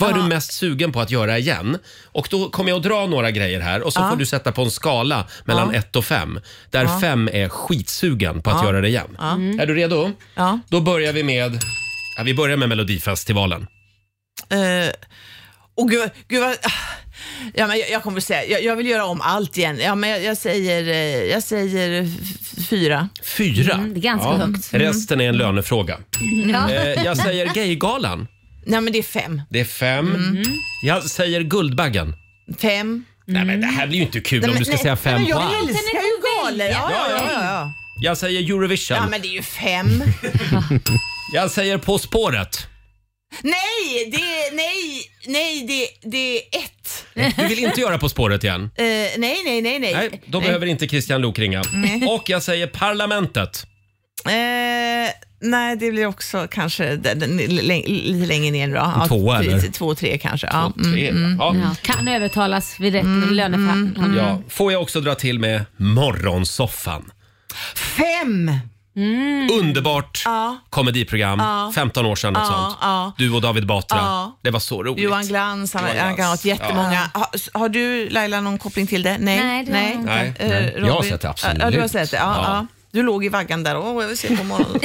Vad är du mest sugen på att göra igen? Och då kommer jag att dra några grejer här och så Ja. får du sätta på en skala mellan Ja. 1 och 5. Där Ja. 5 är skitsugen på att Ja. göra det igen. Ja. Är du redo? Ja. Då börjar vi med, ja, vi börjar med Melodifestivalen. Eh, och gud, gud vad, ja, men jag, jag kommer säga, jag, jag vill göra om allt igen. Ja, men jag, jag säger, eh, jag säger f- fyra. Fyra. Mm, det är ganska högt. Mm. Resten är en lönefråga. Ja. Eh, jag säger Gaygalan. Nej men det är fem. Det är fem. Mm. Mm. Jag säger Guldbaggen. Fem. Nej men det här blir ju inte kul om du ska säga fem nej, men på Jag allt. älskar ju galor. Ja, ja, ja, ja, ja. Jag säger Eurovision. ja, men det är ju fem. Jag säger På spåret. Nej, det är, nej, nej, det, det är ett. Du vill inte göra På spåret igen? Eh, nej, nej, nej, nej. Nej, då behöver inte Christian Lok ringa. Nej. Och jag säger Parlamentet. Eh, nej, det blir också kanske den, den, lä- lite längre ner då. Ja, Mm, Tvåa, t- eller? t- Två, tre kanske. ja. tre, ja. Ja. Kan övertalas vid rätt Mm, löneförhandling. Ja, får jag också dra till med Morgonsoffan. Fem! Underbart Ja. komediprogram, Ja. 15 år sedan något Ja, sånt. ja. Du och David Batra. Ja. Det var så roligt. Johan Glans, han, Johan han kan ha Glans, haft jättemånga. Har, har du Laila någon koppling till det? Nej. Nej, det har jag inte. Nej, Eh, nej. Robin? Jag har sett det, absolut. Ja, du har sett det. Ja, Ja. ja. Du låg i vaggan där. Åh, jag vill se på morgonen.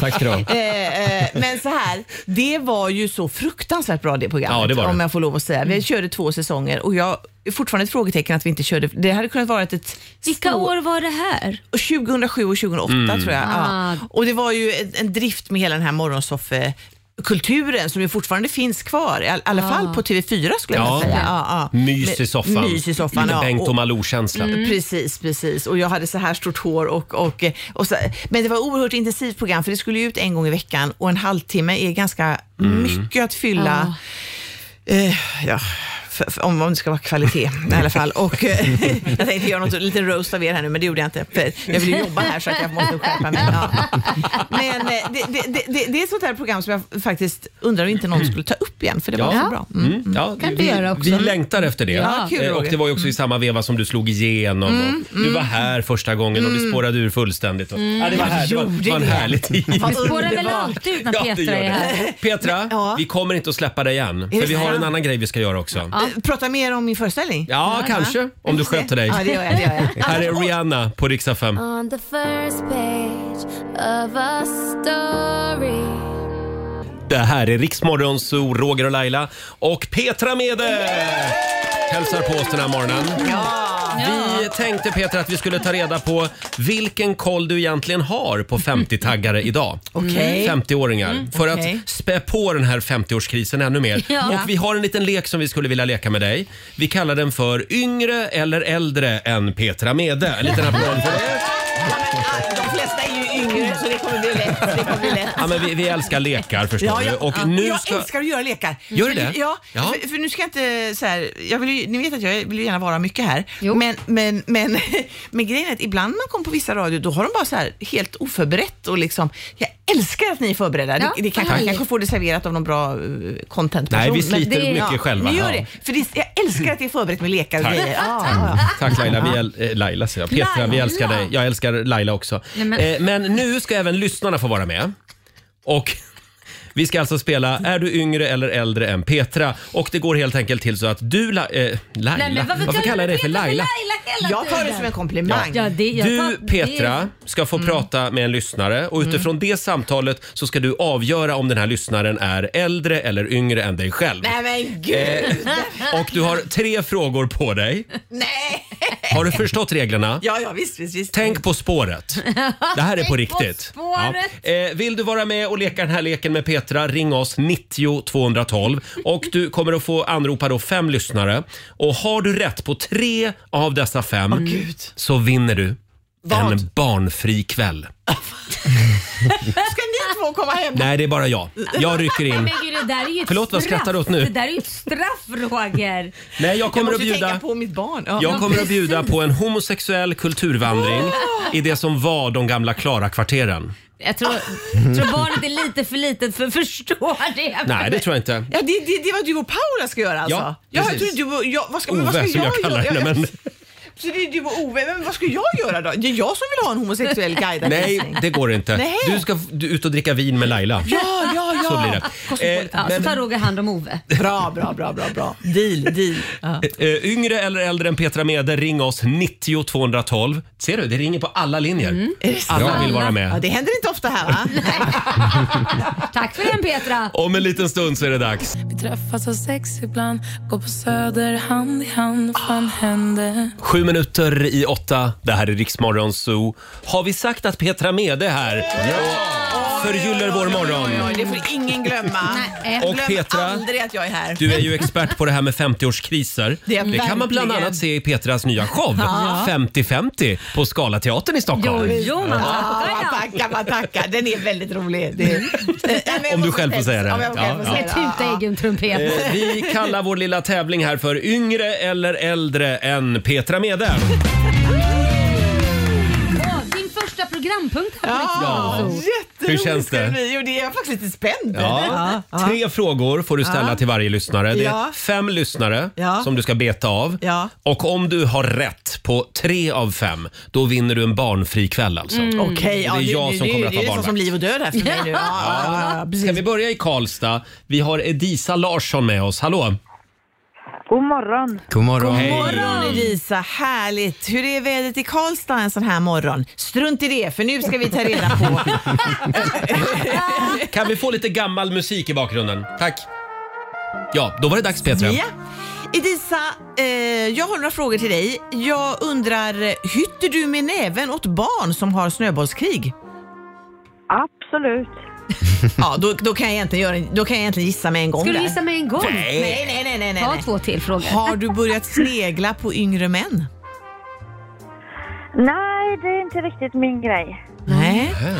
Tack ska du ha. Eh, eh, men så här, det var ju så fruktansvärt bra det programmet. Ja, det var det. Om jag får lov att säga. Vi körde två säsonger och jag är fortfarande ett frågetecken att vi inte körde. Det hade kunnat vara ett... Vilka år var det här? 2007 och 2008 Mm. tror jag. Ah. Ja. Och det var ju en, en drift med hela den här morgonsoffekulturen kulturen som ju fortfarande finns kvar, i all, alla Ah. fall på TV4 skulle jag Ja. vilja säga. Ja, ja. Mys i Men- soffan. Mys i soffan Lite ja. Bengt och Malou-känsla. Mm. Precis, precis. Och jag hade så här stort hår. Och, och, och så, men det var oerhört intensivt program för det skulle ju ut en gång i veckan och en halvtimme är ganska Mm. mycket att fylla. Eh, ja. för- för- Om, om det ska vara kvalitet i alla fall. Och, eh, jag tänkte göra något, lite roast av er här nu, men det gjorde jag inte. För jag vill ju jobba här så att jag måste skärpa mig. Ja. Men eh, det, det, det, det, det är ett sånt här program som jag faktiskt undrar om inte någon skulle ta upp igen, för det var så bra. Mm. Mm. Ja, Kan vi vi, göra också. vi längtar efter det. Ja, kul, Eh, och Roger. det var ju också i samma veva som du slog igenom. Mm, och Du var här första gången och du Mm. spårade ur fullständigt. Och, Mm. ja, det var, Jag här, det var, gjorde var en det. härlig tid. Vad Det spårar väl underbart. alltid ut när Ja, det Petra gör är här. det. Petra, vi kommer inte att släppa dig än. För det vi har en sant? annan grej vi ska göra också. Ja, Eh, Prata mer om min föreställning. kanske. Om du sköter dig. Ja, det gör jag. Det gör jag. Här är Rihanna på Riksa 5. On the first page of a story Det här är Riksmorgon Zoo, Roger och Laila och Petra Mede hälsar på oss den här morgonen. Vi tänkte Petra att vi skulle ta reda på vilken koll du egentligen har på 50-taggare idag. Okej. 50-åringar. Mm, För okej. att spä på den här 50-årskrisen ännu mer. Ja. Och vi har en liten lek som vi skulle vilja leka med dig. Vi kallar den för Yngre eller äldre än Petra Mede. En liten applåd för det. De flesta är ju yngre så det kommer bli lätt. Det kommer bli lätt. Ja, men vi, vi älskar lekar förstår Ja, du. jag, Och ja. nu jag ska... älskar att göra lekar. Gör du För- det? Ja, Ja. För, för nu ska jag inte så här, jag vill ju, ni vet att jag vill ju gärna vara mycket här, men, men, men, men grejen är att ibland när man kommer på vissa radio då har de bara så här helt oförberett och liksom, jag älskar att ni är förberedda. Ja, det, det kanske, vad ni härligt. kanske får det serverat av någon bra uh, content Nej, vi sliter mycket själva. Ni gör Ja. det, för det, jag älskar att det är förberett med lekar och Tack. grejer. Ja, ja, ja. Tack Laila, vi äl- eh, Laila säger jag. Petra, vi Laila. älskar dig. Jag älskar Laila också. Nej, men- Eh, men nu ska även lyssnarna få vara med. Och Vi ska alltså spela Är du yngre eller äldre än Petra? Och det går helt enkelt till så att du, La- eh, Laila, Nej, men varför kallar kallar jag du dig för Petra för Laila? hela Jag tar det tiden. som en komplimang. Ja, det, jag tar, Du Petra ska få prata med en lyssnare och utifrån det samtalet så ska du avgöra om den här lyssnaren är äldre eller yngre än dig själv. Nej men Eh, och du har tre frågor på dig. Nej! Har du förstått reglerna? Ja, ja visst, visst, visst. Tänk på spåret. Det här är på Tänk på riktigt. spåret. Ja. Eh, vill du vara med och leka den här leken med Petra, ring oss 90 212. Och du kommer att få anropa då fem lyssnare. Och har du rätt på tre av dessa fem Åh, Gud. så vinner du Vad? en barnfri kväll. Ska ni två komma hem? Nej, det är bara jag. Jag rycker Nej, in. men gud, det där är ju ett Förlåt, vad straff. skrattar du åt nu? Det där är ju ett straff Roger. Nej, jag kommer att bjuda... på mitt barn. Jag kommer att bjuda på en homosexuell kulturvandring i det som var de gamla Klara-kvarteren. Jag tror, tror barnet är lite för litet för att förstå det. Mm. Nej, det tror jag inte. Ja, det, det, det var du och Paula ska göra alltså? Ja, jag precis. trodde du och jag... Vad ska, men vad ska Ove, som jag göra? kallar Ja, henne. ja, Men... Så det är du och Ove, men vad ska jag göra då? Det är jag som vill ha en homosexuell guidad Nej, det går inte. Nej. Du ska f- du, ut och dricka vin med Laila. Ja, ja, ja. Så blir det. Eh, ja, men- Så tar Roger hand om Ove. Bra, bra, bra, bra, bra. Deal, deal. Ja. Eh, Yngre eller äldre än Petra Mede, ring oss 90 212. Ser du, det ringer på alla linjer. Mm. Alla vill vara Ja, med. det händer inte ofta här va? Tack för den Petra. Om en liten stund så är det dags. Vi träffas av sex ibland, går på Söder hand i hand. Vad fan hände? Sju minuter i åtta. Det här är Riksmorgon Zoo. Har vi sagt att Petra Mede är här? Och Förgyller vår Oj, morgon. oj, det får ingen glömma. Och Glöm Petra, aldrig att jag är här. Du är ju expert på det här med 50-årskriser. Det är Det kan man bland verkligen. annat se i Petras nya show Ja. 50-50 på Scalateatern i Stockholm. Ja, vad tackar, vad tackar. Den är väldigt rolig. Det är... Eh, Nej, men jag Om du måste själv får spetsa. säga det. Om jag själv Ja, får ja. säga det. Tuta egen trumpet. Eh, Vi kallar vår lilla tävling här för Yngre eller äldre än Petra Mede. Åh, din första programpunkt här på Ja, Riksmorgon. jätteroligt Hur känns ska det? bli. Jo, det är jag faktiskt lite spänd. Ja. Tre frågor får du ställa Ja. till varje lyssnare. Det Ja. är fem lyssnare Ja. som du ska beta av. Ja. Och om du har rätt på tre av fem, då vinner du en barnfri kväll alltså. Mm. Okej, ja, det är nu- jag nu- som nu- kommer att det är vara ju som barnvakt. liv och död här för mig nu. Ja, ja, ja. Ska vi börja i Karlstad? Vi har Edisa Larsson med oss. Hallå! God morgon. God morgon! God Hej. morgon Elisa, härligt! Hur är vädret i Karlstad en sån här morgon? Strunt i det, för nu ska vi ta reda på... Kan vi få lite gammal musik i bakgrunden? Tack! Ja, då var det dags Petra. ja. Elisa, eh, jag har några frågor till dig. Jag undrar, hytter du med näven åt barn som har snöbollskrig? Absolut. Ja, då, då, kan jag egentligen göra, en- då kan jag egentligen gissa med en gång Ska du där. gissa med en gång? Nej. Nej, nej, nej, nej, nej. Ta två till frågor. Har du börjat snegla på yngre män? Nej, det är inte riktigt min grej. Nej. Mm.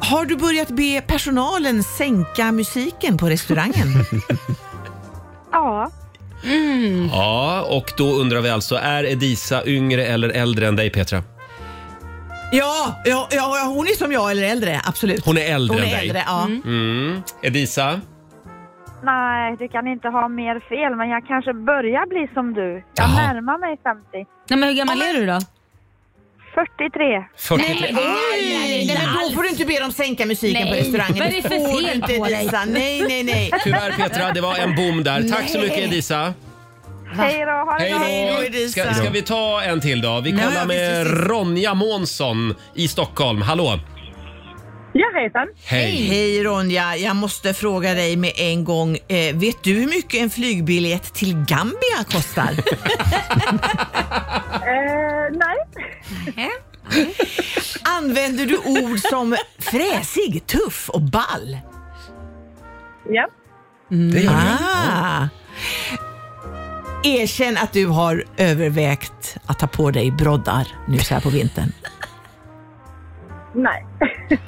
Har du börjat be personalen sänka musiken på restaurangen? Ja. Ja, och då undrar vi alltså, är Edisa yngre eller äldre än dig Petra? ja, ja, ja, hon är som jag eller äldre, absolut. Hon är äldre Hon än är dig. äldre, ja. Mm. Edisa? Nej, du kan inte ha mer fel, men jag kanske börjar bli som du. Jag Jaha. närmar mig 50. Nej, men hur gammal är du då? 43. 40... Nej, nej, nej, men då får du inte be dem sänka musiken Nej, på restaurangen. vad är det för får fel du inte, på dig? Lisa. Nej, nej, nej. Tyvärr Petra, det var en bom där. Tack så Nej. mycket Edisa. Hej då, ha det bra. Hej då, Hej då! Edisa. Ska, ska vi ta en till då? Vi Ja, kollar ja, med visst, visst. Ronja Månsson i Stockholm. Hallå! Ja, hejsan. Hej! Hej Ronja, jag måste fråga dig med en gång. Eh, vet du hur mycket en flygbiljett till Gambia kostar? Eh, nej. Använder du ord som fräsig, tuff och ball? Ja. Det gör du. Ah. Erkänn att du har övervägt att ta på dig broddar nu så här på vintern. Nej.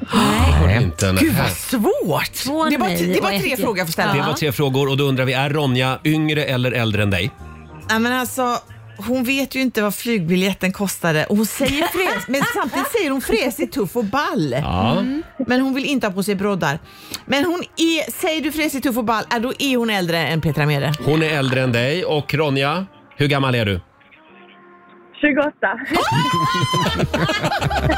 Har du inte en- Gud vad svårt! Två det är bara, nej det är och bara ett tre ja. frågor jag får ställa. Det var tre frågor och då undrar vi, är Ronja yngre eller äldre än dig? Nej, men alltså, hon vet ju inte vad flygbiljetten kostade och hon säger fräs, men samtidigt säger hon fräsig, tuff och ball. Ja. Men hon vill inte ha på sig broddar. Men hon är, säger du fräsig, tuff och ball, ja, då är hon äldre än Petra Mede. Hon är äldre än dig och Ronja, hur gammal är du? 28.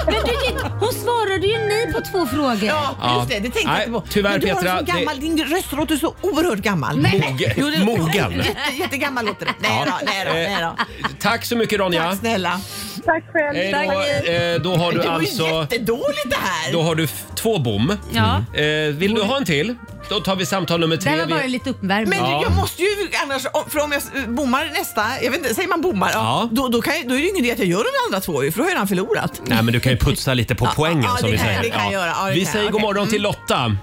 Men du gick, hon svarade ju nej på två frågor. Ja. Just det, det tänkte jag Nej, inte på. tyvärr, men du Petra, har en sån gammal, det- din röst låter så oerhört gammal. Nej, men- Mogen. Jo, det- Mogen. Jätte, jättegammal låter det. Nej Ja. då, nej då, nej då. Tack så mycket Ronja. Tack snälla. Tack själv. Hej då. Eh, då har du det var ju alltså- jättedåligt det här. Då har du f- två bom. Ja. Eh, vill du ha en till? Då tar vi samtal nummer tre. Det var Vi- bara lite uppvärmning. Men Ja. jag måste ju annars, om- för om jag s- bommar nästa, jag vet inte, säger man bommar, ja. då, då, kan, jag- då är det ju ingen idé att jag gör de andra två ju, för då har jag redan förlorat. Nej, men du kan ju putsa lite på Ja, poängen ja, det som vi kan- säger. det kan jag göra. Ja, det vi kan säger jag. god Okej. Mm. morgon till Lotta.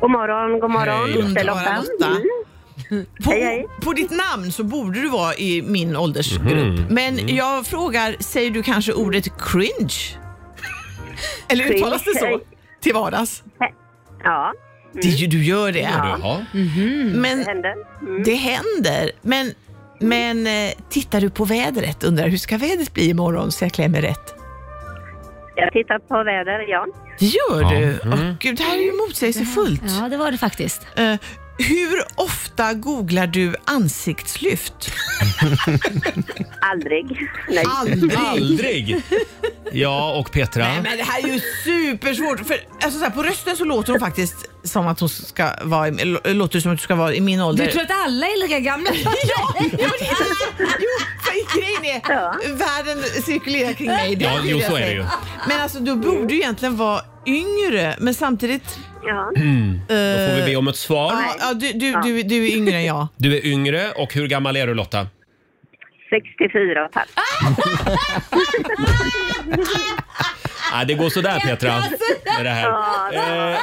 God morgon, god morgon. Hej då. Det är Lotta. Mm. På, på ditt namn så borde du vara i min åldersgrupp. Mhm. Men jag frågar, säger du kanske ordet cringe? Eller uttalas det så? Cringe. Till vardags? Ja. Det, du gör det? Jaha. Men Det händer. Mm. det händer. Men, men eh, tittar du på vädret? Undrar hur ska vädret bli imorgon så jag klär mig rätt? Jag tittar på väder, ja. Det gör Ja. du? Mm. Åh, gud, det här är ju motsägelsefullt. Ja, det var det faktiskt. Eh, hur ofta googlar du ansiktslyft? Aldrig. Nej. Aldrig. Aldrig. Ja, och Petra. Nej, men det här är ju supersvårt. För, alltså, så här, på rösten så låter hon faktiskt som att hon ska vara i, lå- låter som att du ska vara i min ålder. Du tror att alla är lika gamla? Ja, ja, det är så- jo, för grejen är världen cirkulerar kring mig. Ja, vill jo, jag så är säga. det ju. Men alltså du borde ju egentligen vara yngre, men samtidigt... Ja. Mm. Då får vi be om ett svar. Ja, ja, du, du, du, du är yngre än jag. Du är yngre och hur gammal är du Lotta? 64 och ett halvt. Ah, det går sådär Petra. Med det här. Eh, Men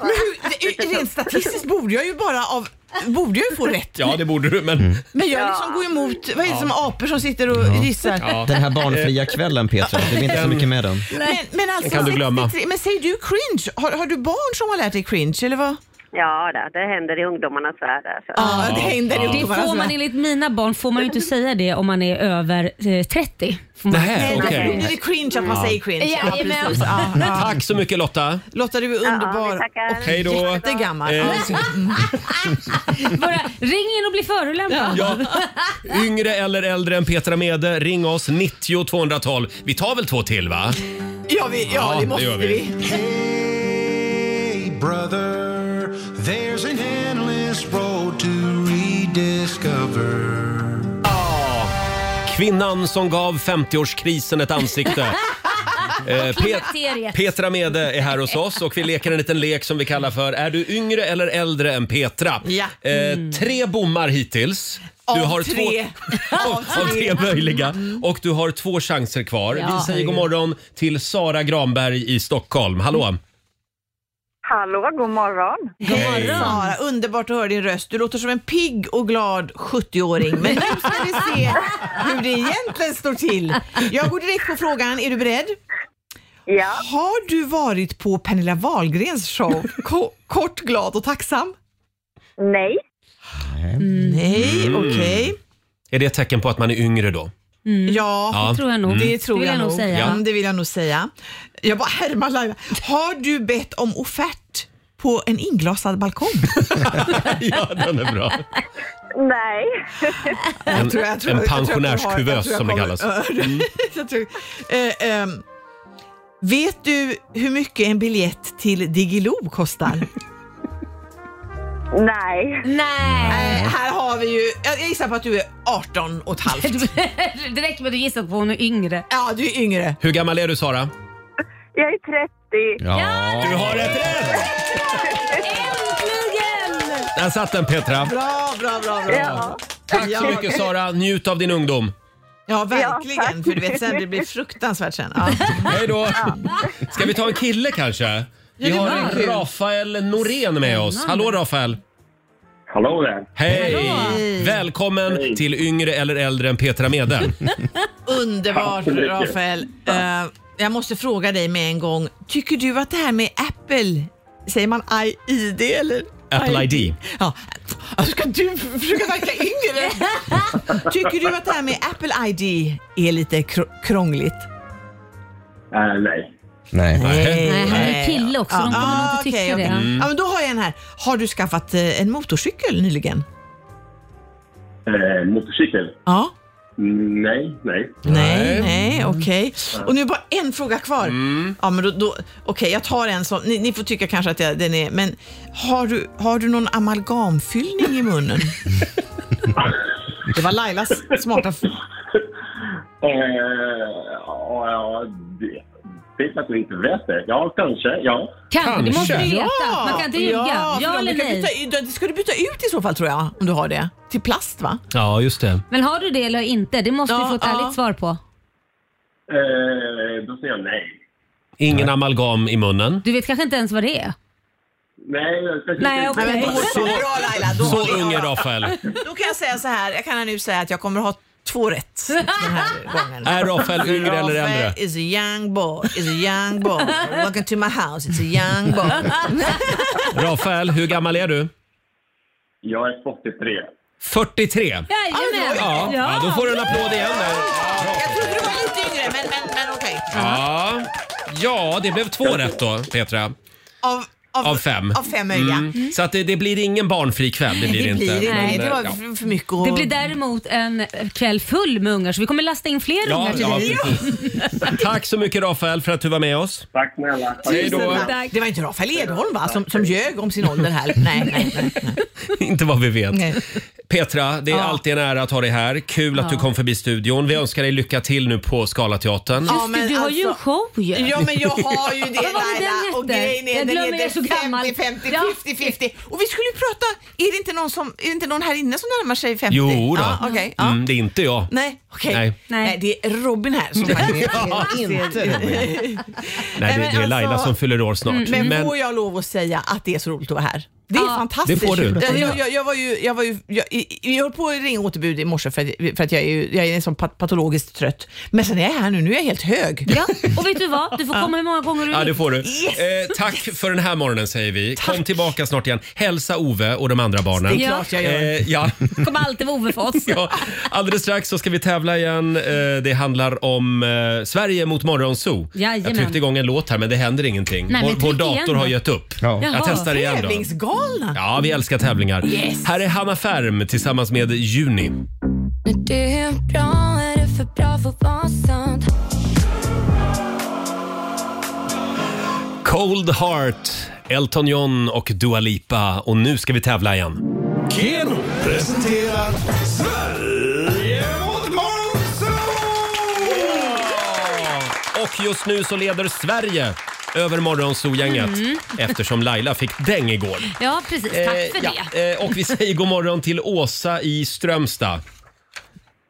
hur, det- liksom- rent statistiskt borde jag ju bara av... Borde jag ju få rätt. ja, det borde du, men... Men jag liksom går emot, vad är det Ja. som apor som sitter och gissar? Den här barnfria kvällen Petra, det blir inte så Den- mycket med den. Men, men alltså, kan du glömma. 63 men säger du cringe? Har, har du barn som har lärt dig cringe eller vad? Ja, det, det händer i ungdomarnas värld. Alltså. Ja, det händer i Det får man enligt mina barn får man ju inte säga det om man är över eh, 30. Får man Nej, inte säga. okej. Nu är det cringe att man Ja. säger cringe. Jajamän. precis. Ja, ja. Tack så mycket Lotta. Lotta, du är underbar. Hej då. Jättegammal. Eh, Ja. Bara ring in och bli förolämpad. Ja. Yngre eller äldre än Petra Mede, ring oss 90 212. Vi tar väl två till va? Ja, vi, ja, Ja, det det måste gör vi. vi. Hey, brother, there's an endless road to rediscover. Ja. Kvinnan som gav 50-årskrisen ett ansikte. Eh, Pe- Klimakteriet. Petra Mede är här hos oss och vi leker en liten lek som vi kallar för Är du yngre eller äldre än Petra? Ja. Mm. Eh, tre bommar hittills. Av du har tre. Två, av, av tre möjliga. Och du har två chanser kvar. Ja. Vi säger god morgon till Sara Granberg i Stockholm. Hallå! Hallå, god morgon. God morgon. Sara, underbart att höra din röst. Du låter som en pigg och glad 70-åring. Men nu ska vi se hur det egentligen står till. Jag går direkt på frågan. Är du beredd? Ja. Har du varit på Pernilla Wahlgrens show Ko- Kort, glad och tacksam? Nej. Nej, Mm. okej. Är det ett tecken på att man är yngre då? Ja, Mm. Ja. Det tror jag nog. Det tror Det vill jag, jag nog nog. säga. Ja, det vill jag nog säga. Jag bara härmar Laila. Har du bett om offert på en inglasad balkong? ja, den är bra. Nej. En, tror- jag tror- en jag tror jag kommer- jag pensionärskuvös tror som det jag kallas. kommer- jag tror, eh, ehm, vet du hur mycket en biljett till Digilo kostar? Nej. Nej. Eh, här har vi ju, jag jag gissar på att du är 18 och ett halvt. Det räcker med att du gissat på hon är yngre. Ja, du är yngre. Hur gammal är du Sara? Jag är 30. Ja. Du har ett rätt! Äntligen! Där satt den Petra. Bra, bra, bra. bra. Ja. Tack så Ja. mycket Sara. Njut av din ungdom. Ja, Ja, verkligen. tack. för du vet sen, det blir fruktansvärt sen. Ja. Hej då. Ska vi ta en kille kanske? Vi det har var kul. Rafael Norén med oss. Hallå Rafael! Hallå där. Hej! Välkommen till Yngre eller äldre än Petra Mede. Tack Underbart så mycket. Rafael. Eh, jag måste fråga dig med en gång. Tycker du att det här med Apple, säger man ID eller? Apple ID. Ja. Alltså, Ska du försöka verka yngre? Tycker du att det här med Apple ID är lite kr- krångligt? Äh, nej. Nej. Nej, han är kille också. De kommer nog inte tycka Ah, okej, Mm. det. okej. Ja, men då har jag en här. Har du skaffat eh, en motorcykel nyligen? Eh, motorcykel? Ja. Nej, nej. Nej, nej, okej. Och nu bara en fråga kvar. Mm. Ja, men då, då, okej, jag tar en sån. Ni, ni får tycka kanske att jag, den är... Men har du, har du någon amalgamfyllning i munnen? Det var Lailas smarta... f- Eh, ja, ja, det vet jag att vi inte vet det. Ja, kanske. Ja. Kanske. Du måste veta. Man kan inte ljuga. Ja, Ja ja eller eller nej? Byta, då ska du byta ut i så fall tror jag, om du har det. Till plast va? Ja, just det. Men har du det eller inte? Det måste vi få ett ärligt svar på. Eh, då säger jag nej. Ingen amalgam i munnen. Du vet kanske inte ens vad det är? Nej, jag ska Nej, okej. Nej, men då- Så- bra, Laila, då har Så vi- ung är ja. Rafael. Då kan jag säga så här, jag kan nu säga att jag kommer ha två rätt den här gången. Är Rafael yngre eller Rafael äldre? is a young boy, is a young boy. Welcome to my house, it's a young boy. Rafael, hur gammal är du? Jag är 43. 43? Jajamän! Ja, ja, då får du en applåd igen där. Jag trodde du var lite yngre, men, men, men okej. Ja. ja, det blev två rätt då, Petra. Av, av, Av fem. Av fem möjliga. Mm. Så att det, det blir ingen barnfri kväll, det blir det inte. Men, nej, eh, det ja. var för mycket Det blir däremot en kväll full med ungar så vi kommer lasta in fler Ja, ungar till ja, dig. Tack så mycket Rafael för att du var med oss. Tack snälla. Hej då. Det var inte Rafael Edholm va, som, som ljög om sin ålder här? Nej, nej, nej. Inte vad vi vet. Nej. Petra, det är alltid en ära att ha dig här. Kul att Ja. du kom förbi studion. Vi önskar dig lycka till nu på Scalateatern. Just det, du har ju en show ju. alltså- Ja men jag har ju det Vad var det Laila den och hette? grejen är Jag den glömmer, jag är så gammal. 50, 50, 50, 50 och vi skulle ju prata, är det inte någon, som, är det inte någon här inne som närmar sig 50? Jo då. Ja, okej. ja. Mm, det är inte jag. Nej, okej. Nej. Nej. det är Robin här som faktiskt Ja, inte Robin. Nej, det, det är Laila alltså- som fyller år Mm, snart. Men, Men- får jag lov att säga att det är så roligt att vara här? Det är fantastiskt. det får du. Jag, jag, jag, jag var ju, jag, var ju, jag, jag höll på att ringa återbud i morse för att, för att jag är, ju- jag är liksom pat- patologiskt trött. Men sen är jag här nu, nu är jag helt hög. Ja, och vet du vad? Du får komma hur många gånger du Ja, vill. det får du. Eh, tack för den här morgonen säger vi. Kom tillbaka snart igen. Hälsa Ove och de andra barnen. Det är klart jag gör. Eh, ja. kommer alltid vara Ove för oss. ja. Alldeles strax så ska vi tävla igen. Eh, det handlar om eh, Sverige mot Morgonzoo. Jajamän. Jag tryckte igång en låt här men det händer ingenting. Nej, men vår, vår tryck igen dator då. har gett upp. Jag testar igen då. Tävlingsgalna. Ja, vi älskar tävlingar. Yes. Här är Hanna Färm tillsammans med Juni. När du är bra är det för bra för att vara sant Cold Heart, Elton John och Dua Lipa. Och nu ska vi tävla igen. Keno presenterar Sverige mot Och just nu så leder Sverige över Morgonzoo-gänget Mm. eftersom Laila fick däng igår. Ja, precis. Tack för Eh, ja, det. eh, Och vi säger god morgon till Åsa i Strömstad.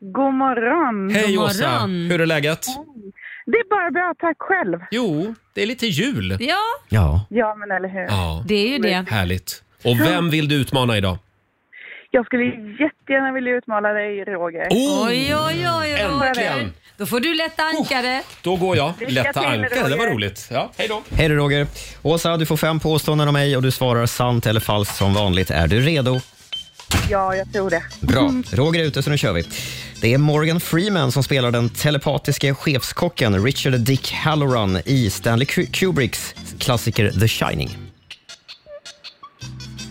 God morgon. Hej Åsa! Hur är läget? Det är bara bra, tack själv. Jo, det är lite jul. Ja. Ja. Ja, men eller hur. ja. Det är ju det. Härligt. Och vem vill du utmana idag? Jag skulle jättegärna vilja utmana dig, Roger. Oh! Oj, oj, oj, Äntligen! Roger. Då får du lätta ankare. Då går jag. Lycka Lätta till, ankar, det var Roger. roligt. Ja, hej då! Hej då Roger. Åsa, du får fem påståenden av mig och du svarar sant eller falskt som vanligt. Är du redo? Ja, jag tror det. Bra. Roger är ute, så nu kör vi. Det är Morgan Freeman som spelar den telepatiske chefskocken Richard Dick Halloran i Stanley Ku- Kubricks klassiker The Shining.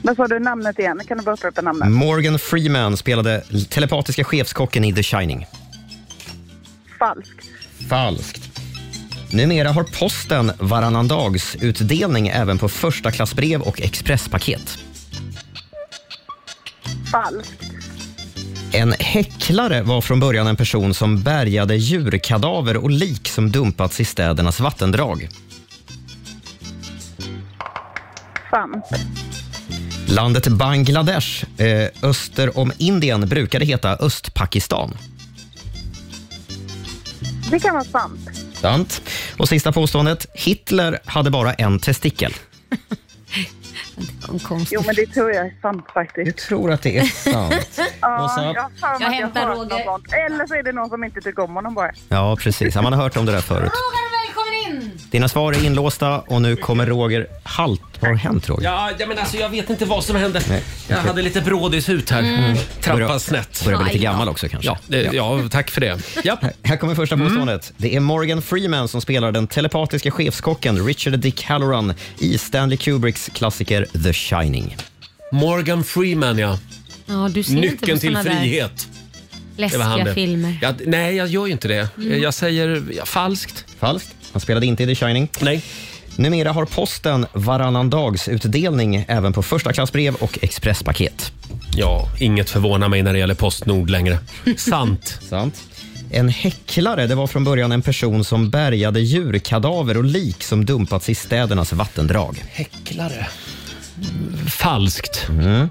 Vad sa du namnet igen? Kan du bara upprepa namnet? Mm. Morgan Freeman spelade l- telepatiska chefskocken i The Shining. Falskt. Falskt. Numera har posten varannan dags utdelning även på första klassbrev och expresspaket. Falskt. En häcklare var från början en person som bärgade djurkadaver och lik som dumpats i städernas vattendrag. Sant. Landet Bangladesh, eh, öster om Indien, brukade heta Östpakistan. Det kan vara sant. Sant. Och sista påståendet. Hitler hade bara en testikel. Jo, men det tror jag är sant faktiskt. Jag tror att det är sant. Ja, Åsa? jag har för mig att jag hämtar Roger. Sånt. Eller så är det någon som inte tycker om honom bara. Ja, precis. Ja, Man har hört om det där förut. Välkommen in! Dina svar är inlåsta och nu kommer Roger Halt. Vad har hänt, Roger? Ja, ja, men alltså jag vet inte vad som hände. Nej. Jag hade lite brådishut här. Mm. Trampade Börjar- snett. börjar bli lite gammal också kanske. Ja, det, ja tack för det. Ja. Mm. Här kommer första påståendet. Det är Morgan Freeman som spelar den telepatiska chefskocken Richard Dick Halloran i Stanley Kubricks klassiker The Shining. Morgan Freeman, ja. Ja, du ser inte Nyckeln på till såna där. frihet. Det var han Läskiga det. filmer. Ja, nej, jag gör ju inte det. Mm. Jag säger ja, falskt. Falskt. Han spelade inte i The Shining. Nej. Numera har posten varannandagsutdelning även på första klassbrev och expresspaket. Ja, inget förvånar mig när det gäller Postnord längre. Sant. Sant. En häcklare det var från början en person som bärgade djurkadaver och lik som dumpats i städernas vattendrag. Häcklare. Falskt. Mm.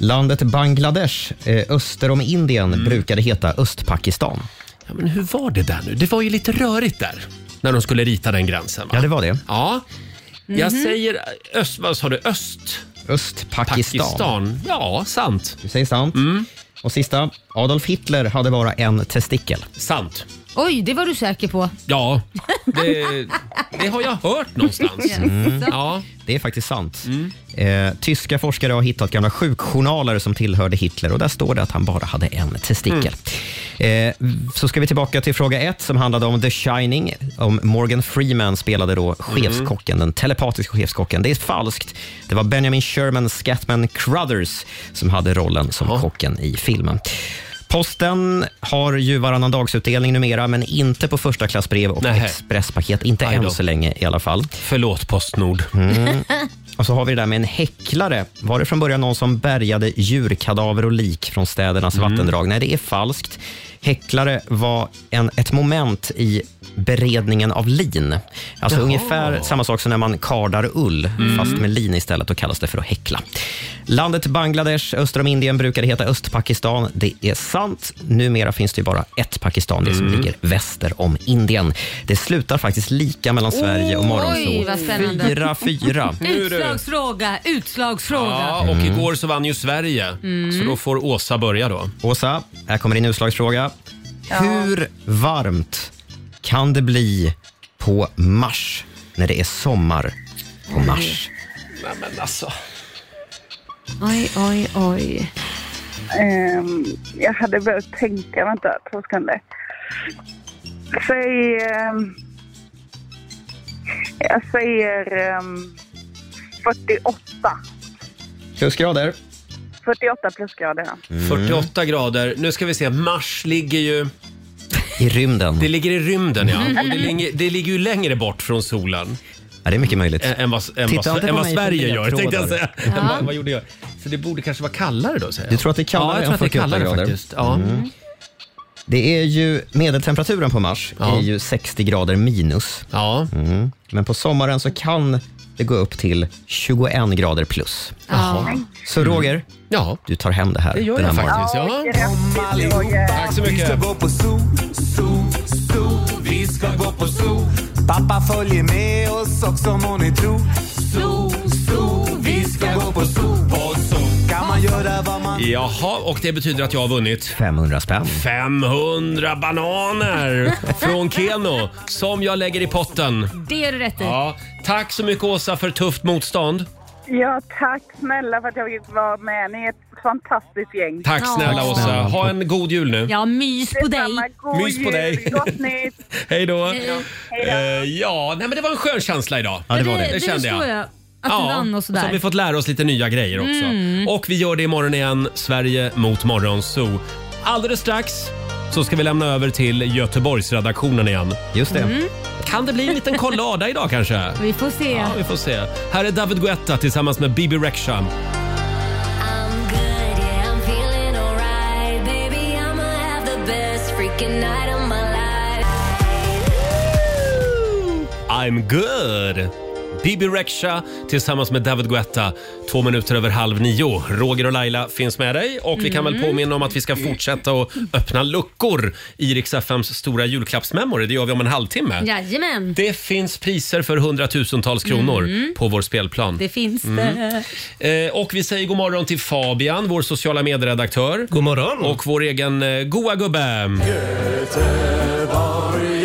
Landet Bangladesh, eh, öster om Indien, brukade heta Östpakistan. Ja, men hur var det där nu? Det var ju lite rörigt där. När de skulle rita den gränsen. Va? Ja, det var det. Ja. Mm-hmm. Jag Mhm. säger öst... Vad sa du? Öst? Östpakistan. Pakistan. Ja, sant. Du säger sant. Och sista, Adolf Hitler hade bara en testikel. Sant. Oj, det var du säker på. Ja, det, det har jag hört någonstans. Mm. Ja. Det är faktiskt sant. Eh, tyska forskare har hittat gamla sjukjournaler som tillhörde Hitler och där står det att han bara hade en testikel. Eh, så ska vi tillbaka till fråga ett som handlade om The Shining. Om Morgan Freeman spelade då chefskocken, den telepatiska chefskocken. Det är falskt. Det var Benjamin Sherman Scatman Crothers som hade rollen som kocken i filmen. Posten har ju varannandagsutdelning numera, men inte på första klassbrev och Nähä. expresspaket. Inte Aj då. än så länge i alla fall. Förlåt Postnord. Mm. Och så har vi det där med en häcklare. Var det från början någon som bärgade djurkadaver och lik från städernas Mm. vattendrag? Nej, det är falskt. Häcklare var en, ett moment i beredningen av lin. Alltså Jaha. ungefär samma sak som när man kardar ull, Mm. fast med lin istället. Då kallas det för att häckla. Landet Bangladesh, öster om Indien, brukade heta Östpakistan. Det är sant. Numera finns det ju bara ett Pakistan, det som Mm. ligger väster om Indien. Det slutar faktiskt lika mellan Sverige och Oj, Morgonzoo. vad spännande. 4-4. Utslagsfråga, utslagsfråga. Ja, och Mm. igår så vann ju Sverige. Mm. Så då får Åsa börja då. Åsa, här kommer din utslagsfråga. Hur varmt kan det bli på Mars när det är sommar på Mars? Nej, men alltså. Oj, oj, oj. Ehm, jag hade behövt tänka, vänta två sekunder. Säg... ehm, jag säger ehm, 48. Plusgrader. 48 plusgrader. ja. Mm. 48 grader. Nu ska vi se, Mars ligger ju... I rymden. Det ligger i rymden, ja. Och det, Mm. ligger, det ligger ju längre bort från solen. Ja, det är mycket möjligt. Eh. Ä- Än vad, än Titta vad, inte än vad på mig för Sverige gör, ledtrådar. tänkte jag säga. Ja. Än vad, vad gjorde jag? Så det borde kanske vara kallare då, säger jag. Du tror att det är kallare ja, jag tror än att det är 48 kallare grader? faktiskt. Ja. Mm. Det är ju medeltemperaturen på Mars är ju 60 grader minus. Ja. Mm. Men på sommaren så kan det gå upp till 21 grader plus. Jaha. Så Mm. Roger, ja. du tar hem det här. Det gör den jag här morgonen. faktiskt. Ja. Tack så mycket. Vi ska gå på zoo, zoo, zoo. Vi ska gå på zoo. Pappa följer med oss också må ni tro. Zoo, zoo. Vi ska gå på zoo. På zoo. Kan man göra vad man Jaha, och det betyder att jag har vunnit 500 spänn. 500 bananer från Keno som jag lägger i potten. Det är du rätt i. Ja, tack så mycket Åsa för tufft motstånd. Ja, tack snälla för att jag fick vara med. Ni är ett fantastiskt gäng. Tack snälla Tack Åsa. snälla. Ha en god jul nu. Ja, mys på dig. God Mys på jul, dig. Gott nytt. Hej då. Hej. Eh, ja, nej, men det var en skön känsla idag. Eh, Ja, det var det. Det kände förstår jag, jag. att du vann och sådär. så har vi fått lära oss lite nya grejer också. Mm. Och vi gör det imorgon igen, Sverige mot Morgonzoo. Alldeles strax så ska vi lämna över till Göteborgsredaktionen igen. Just det. Mm. Kan det bli en liten kollada idag kanske? Vi får se. Ja, vi får se. Här är David Guetta tillsammans med Bibi Rexham. I'm good, yeah, I'm feeling alright. Baby, I'ma have the best freaking night of my life. I'm good! Bibi Rexha tillsammans med David Guetta. Två minuter över halv nio. Roger och Laila finns med dig och vi kan Mm. väl påminna om att vi ska fortsätta att öppna luckor i Rix FMs stora julklappsmemory. Det gör vi om en halvtimme. Jajamän. Det finns priser för hundratusentals kronor Mm. på vår spelplan. Det finns Mm. det. Eh, och vi säger god morgon till Fabian, vår sociala medieredaktör. God morgon. Och vår egen eh, goa gubbe. Göteborg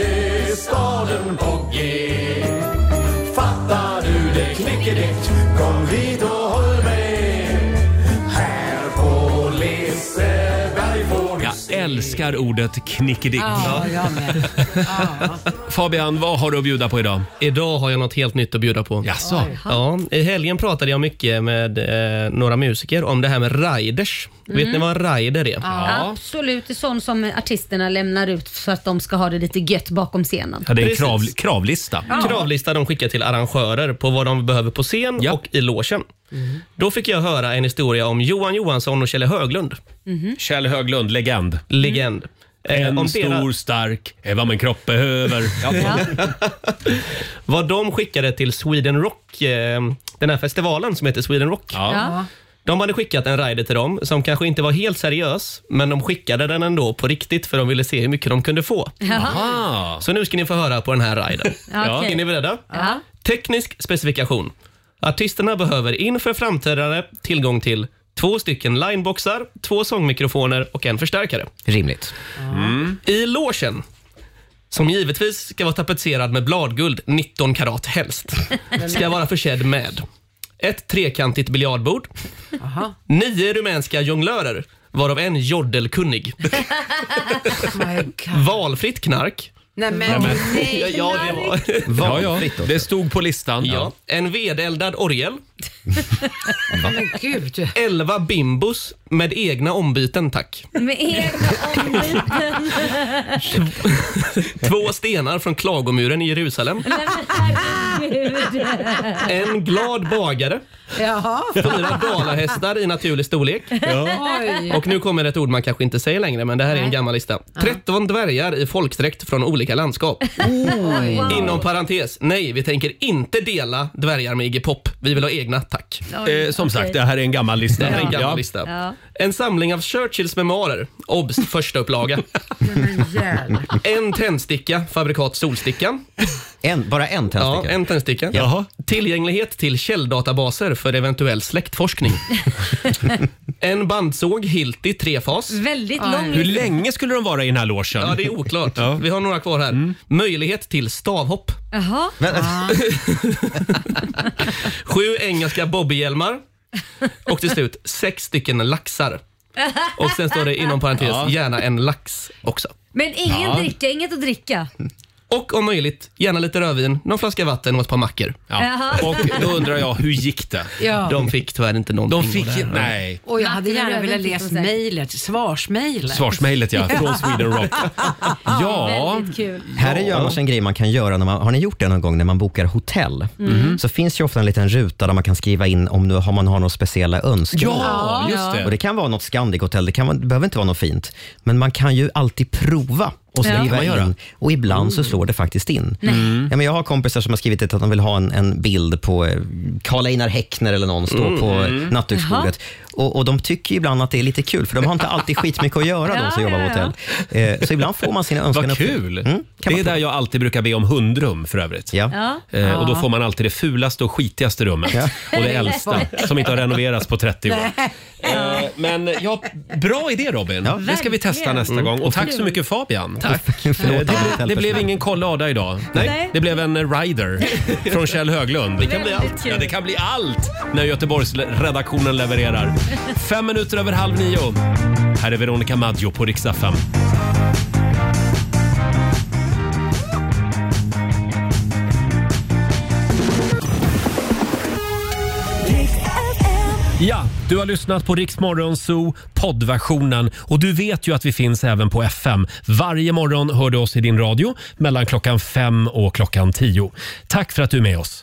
är staden på G. Fattar du det knickedick? Kom hit och håll med. Här på Liseberg får du Jag älskar ordet knickedick. Ja, jag med. Fabian, vad har du att bjuda på idag? Idag har jag något helt nytt att bjuda på. Jaså? Oj. Ja, I helgen pratade jag mycket med eh, några musiker om det här med riders. Vet Mm. ni vad en rider är? Absolut, det är sånt som artisterna lämnar ut för att de ska ha det lite gött bakom scenen. Precis. kravlista. Ja. Kravlista de skickar till arrangörer på vad de behöver på scen och i logen. Då fick jag höra en historia om Johan Johansson och Kjell Höglund. Mm. Kjell Höglund, legend. Legend. Eh, En om stor, deras- stark är vad min kropp behöver. Vad de skickade till Sweden Rock, eh, den här festivalen som heter Sweden Rock. Ja. De hade skickat en rider till dem som kanske inte var helt seriös, men de skickade den ändå på riktigt för de ville se hur mycket de kunde få. Jaha. Så nu ska ni få höra på den här ridern. Ja, okej. Är ni beredda? Ja. Teknisk specifikation. Artisterna behöver inför framträdande tillgång till två stycken lineboxar, två sångmikrofoner och en förstärkare. Rimligt. I logen, som givetvis ska vara tapetserad med bladguld 19 karat helst, ska vara försedd med ett trekantigt biljardbord, nio rumänska jonglörer, varav en jordelkunnig, valfritt knark, Nej men, men- nej. Ja, ja, det var... Ja, ja. Det stod på listan. Ja. En vedeldad orgel. Men gud. Elva bimbos med egna ombyten, tack. Med egna ombyten. Två stenar från Klagomuren i Jerusalem. Nej, men herregud. En glad bagare. Jaha. Fyra dalahästar i naturlig storlek. Oj. Och nu kommer ett ord man kanske inte säger längre, men det här är en gammal lista. 13 dvärgar i folkdräkt från olika landskap. Oj. Inom parentes, nej, vi tänker inte dela dvärgar med Iggy Pop. Vi vill ha egna, tack. Eh, som sagt, det här är en gammal lista. Det här är en gammal Ja. lista. Ja. En samling av Churchills memoarer. Obs! Första upplaga. en tändsticka, fabrikat Solstickan. En, bara en tändsticka? Ja, en tändsticka. Tillgänglighet till källdatabaser för eventuell släktforskning. en bandsåg Hilti trefas. Väldigt Oj. lång Hur länge skulle de vara i den här logen? Ja, det är oklart. Vi har några kvar här. Möjlighet till stavhopp. Jaha. Ah. Sju engelska bobbyhjälmar. Och till slut sex stycken laxar. Och sen står det inom parentes, Ja. gärna en lax också. Men ingen Ja. dricka, inget att dricka. Och om möjligt, gärna lite rödvin, någon flaska vatten och ett par mackor. Jaha. Och då undrar jag, hur gick det? Ja. De fick tyvärr inte någonting. De fick- av det här. nej. Och jag hade gärna Mackor velat och läsa rödvin, mejlet, svarsmejlet. Svarsmejlet ja, från Sweden Rock. Ja. Väldigt kul. Här är ju annars en grej man kan göra. När man, har ni gjort det någon gång när man bokar hotell? Mm. Så finns ju ofta en liten ruta där man kan skriva in om nu har man har några speciella önskemål. Ja, just det. Och det kan vara något Scandic-hotell, det, kan vara, det behöver inte vara något fint. Men man kan ju alltid prova och Ja. Kan skriva man göra? in. Och ibland så slår det faktiskt in. Mm. Nej. Mm. Ja, men jag har kompisar som har skrivit att de vill ha en, en bild på eh, Karl Einar Häckner eller någon stå Mm. på Mm. nattduksbordet. Och, och de tycker ju ibland att det är lite kul, för de har inte alltid skitmycket att göra de som jobbar på hotell. Eh, Så ibland får man sina Mm, önskan Vad uppfyllda. kul! det är där jag alltid brukar be om hundrum för övrigt. Ja. Eh, och då Ja. får man alltid det fulaste och skitigaste rummet. Och det äldsta som inte har renoverats på 30 år. Eh, men ja, bra idé Robin. Det ska vi testa Verkligen. nästa Mm. gång. Och tack så Kul. mycket Fabian. Tack. Förlåt, Eh, det, allt ble, det hjälper blev snabbt. ingen kollada idag. Nej. Nej. Det blev en rider från Kjell Höglund. Det kan bli Väldigt allt. kul. Ja, det kan bli allt när Göteborgsredaktionen levererar. Fem minuter över halv nio. Här är Veronica Maggio på riksdag 5. Ja, du har lyssnat på Riksmorgon Zoo poddversionen och du vet ju att vi finns även på FM. Varje morgon hör du oss i din radio mellan klockan fem och klockan tio. Tack för att du är med oss.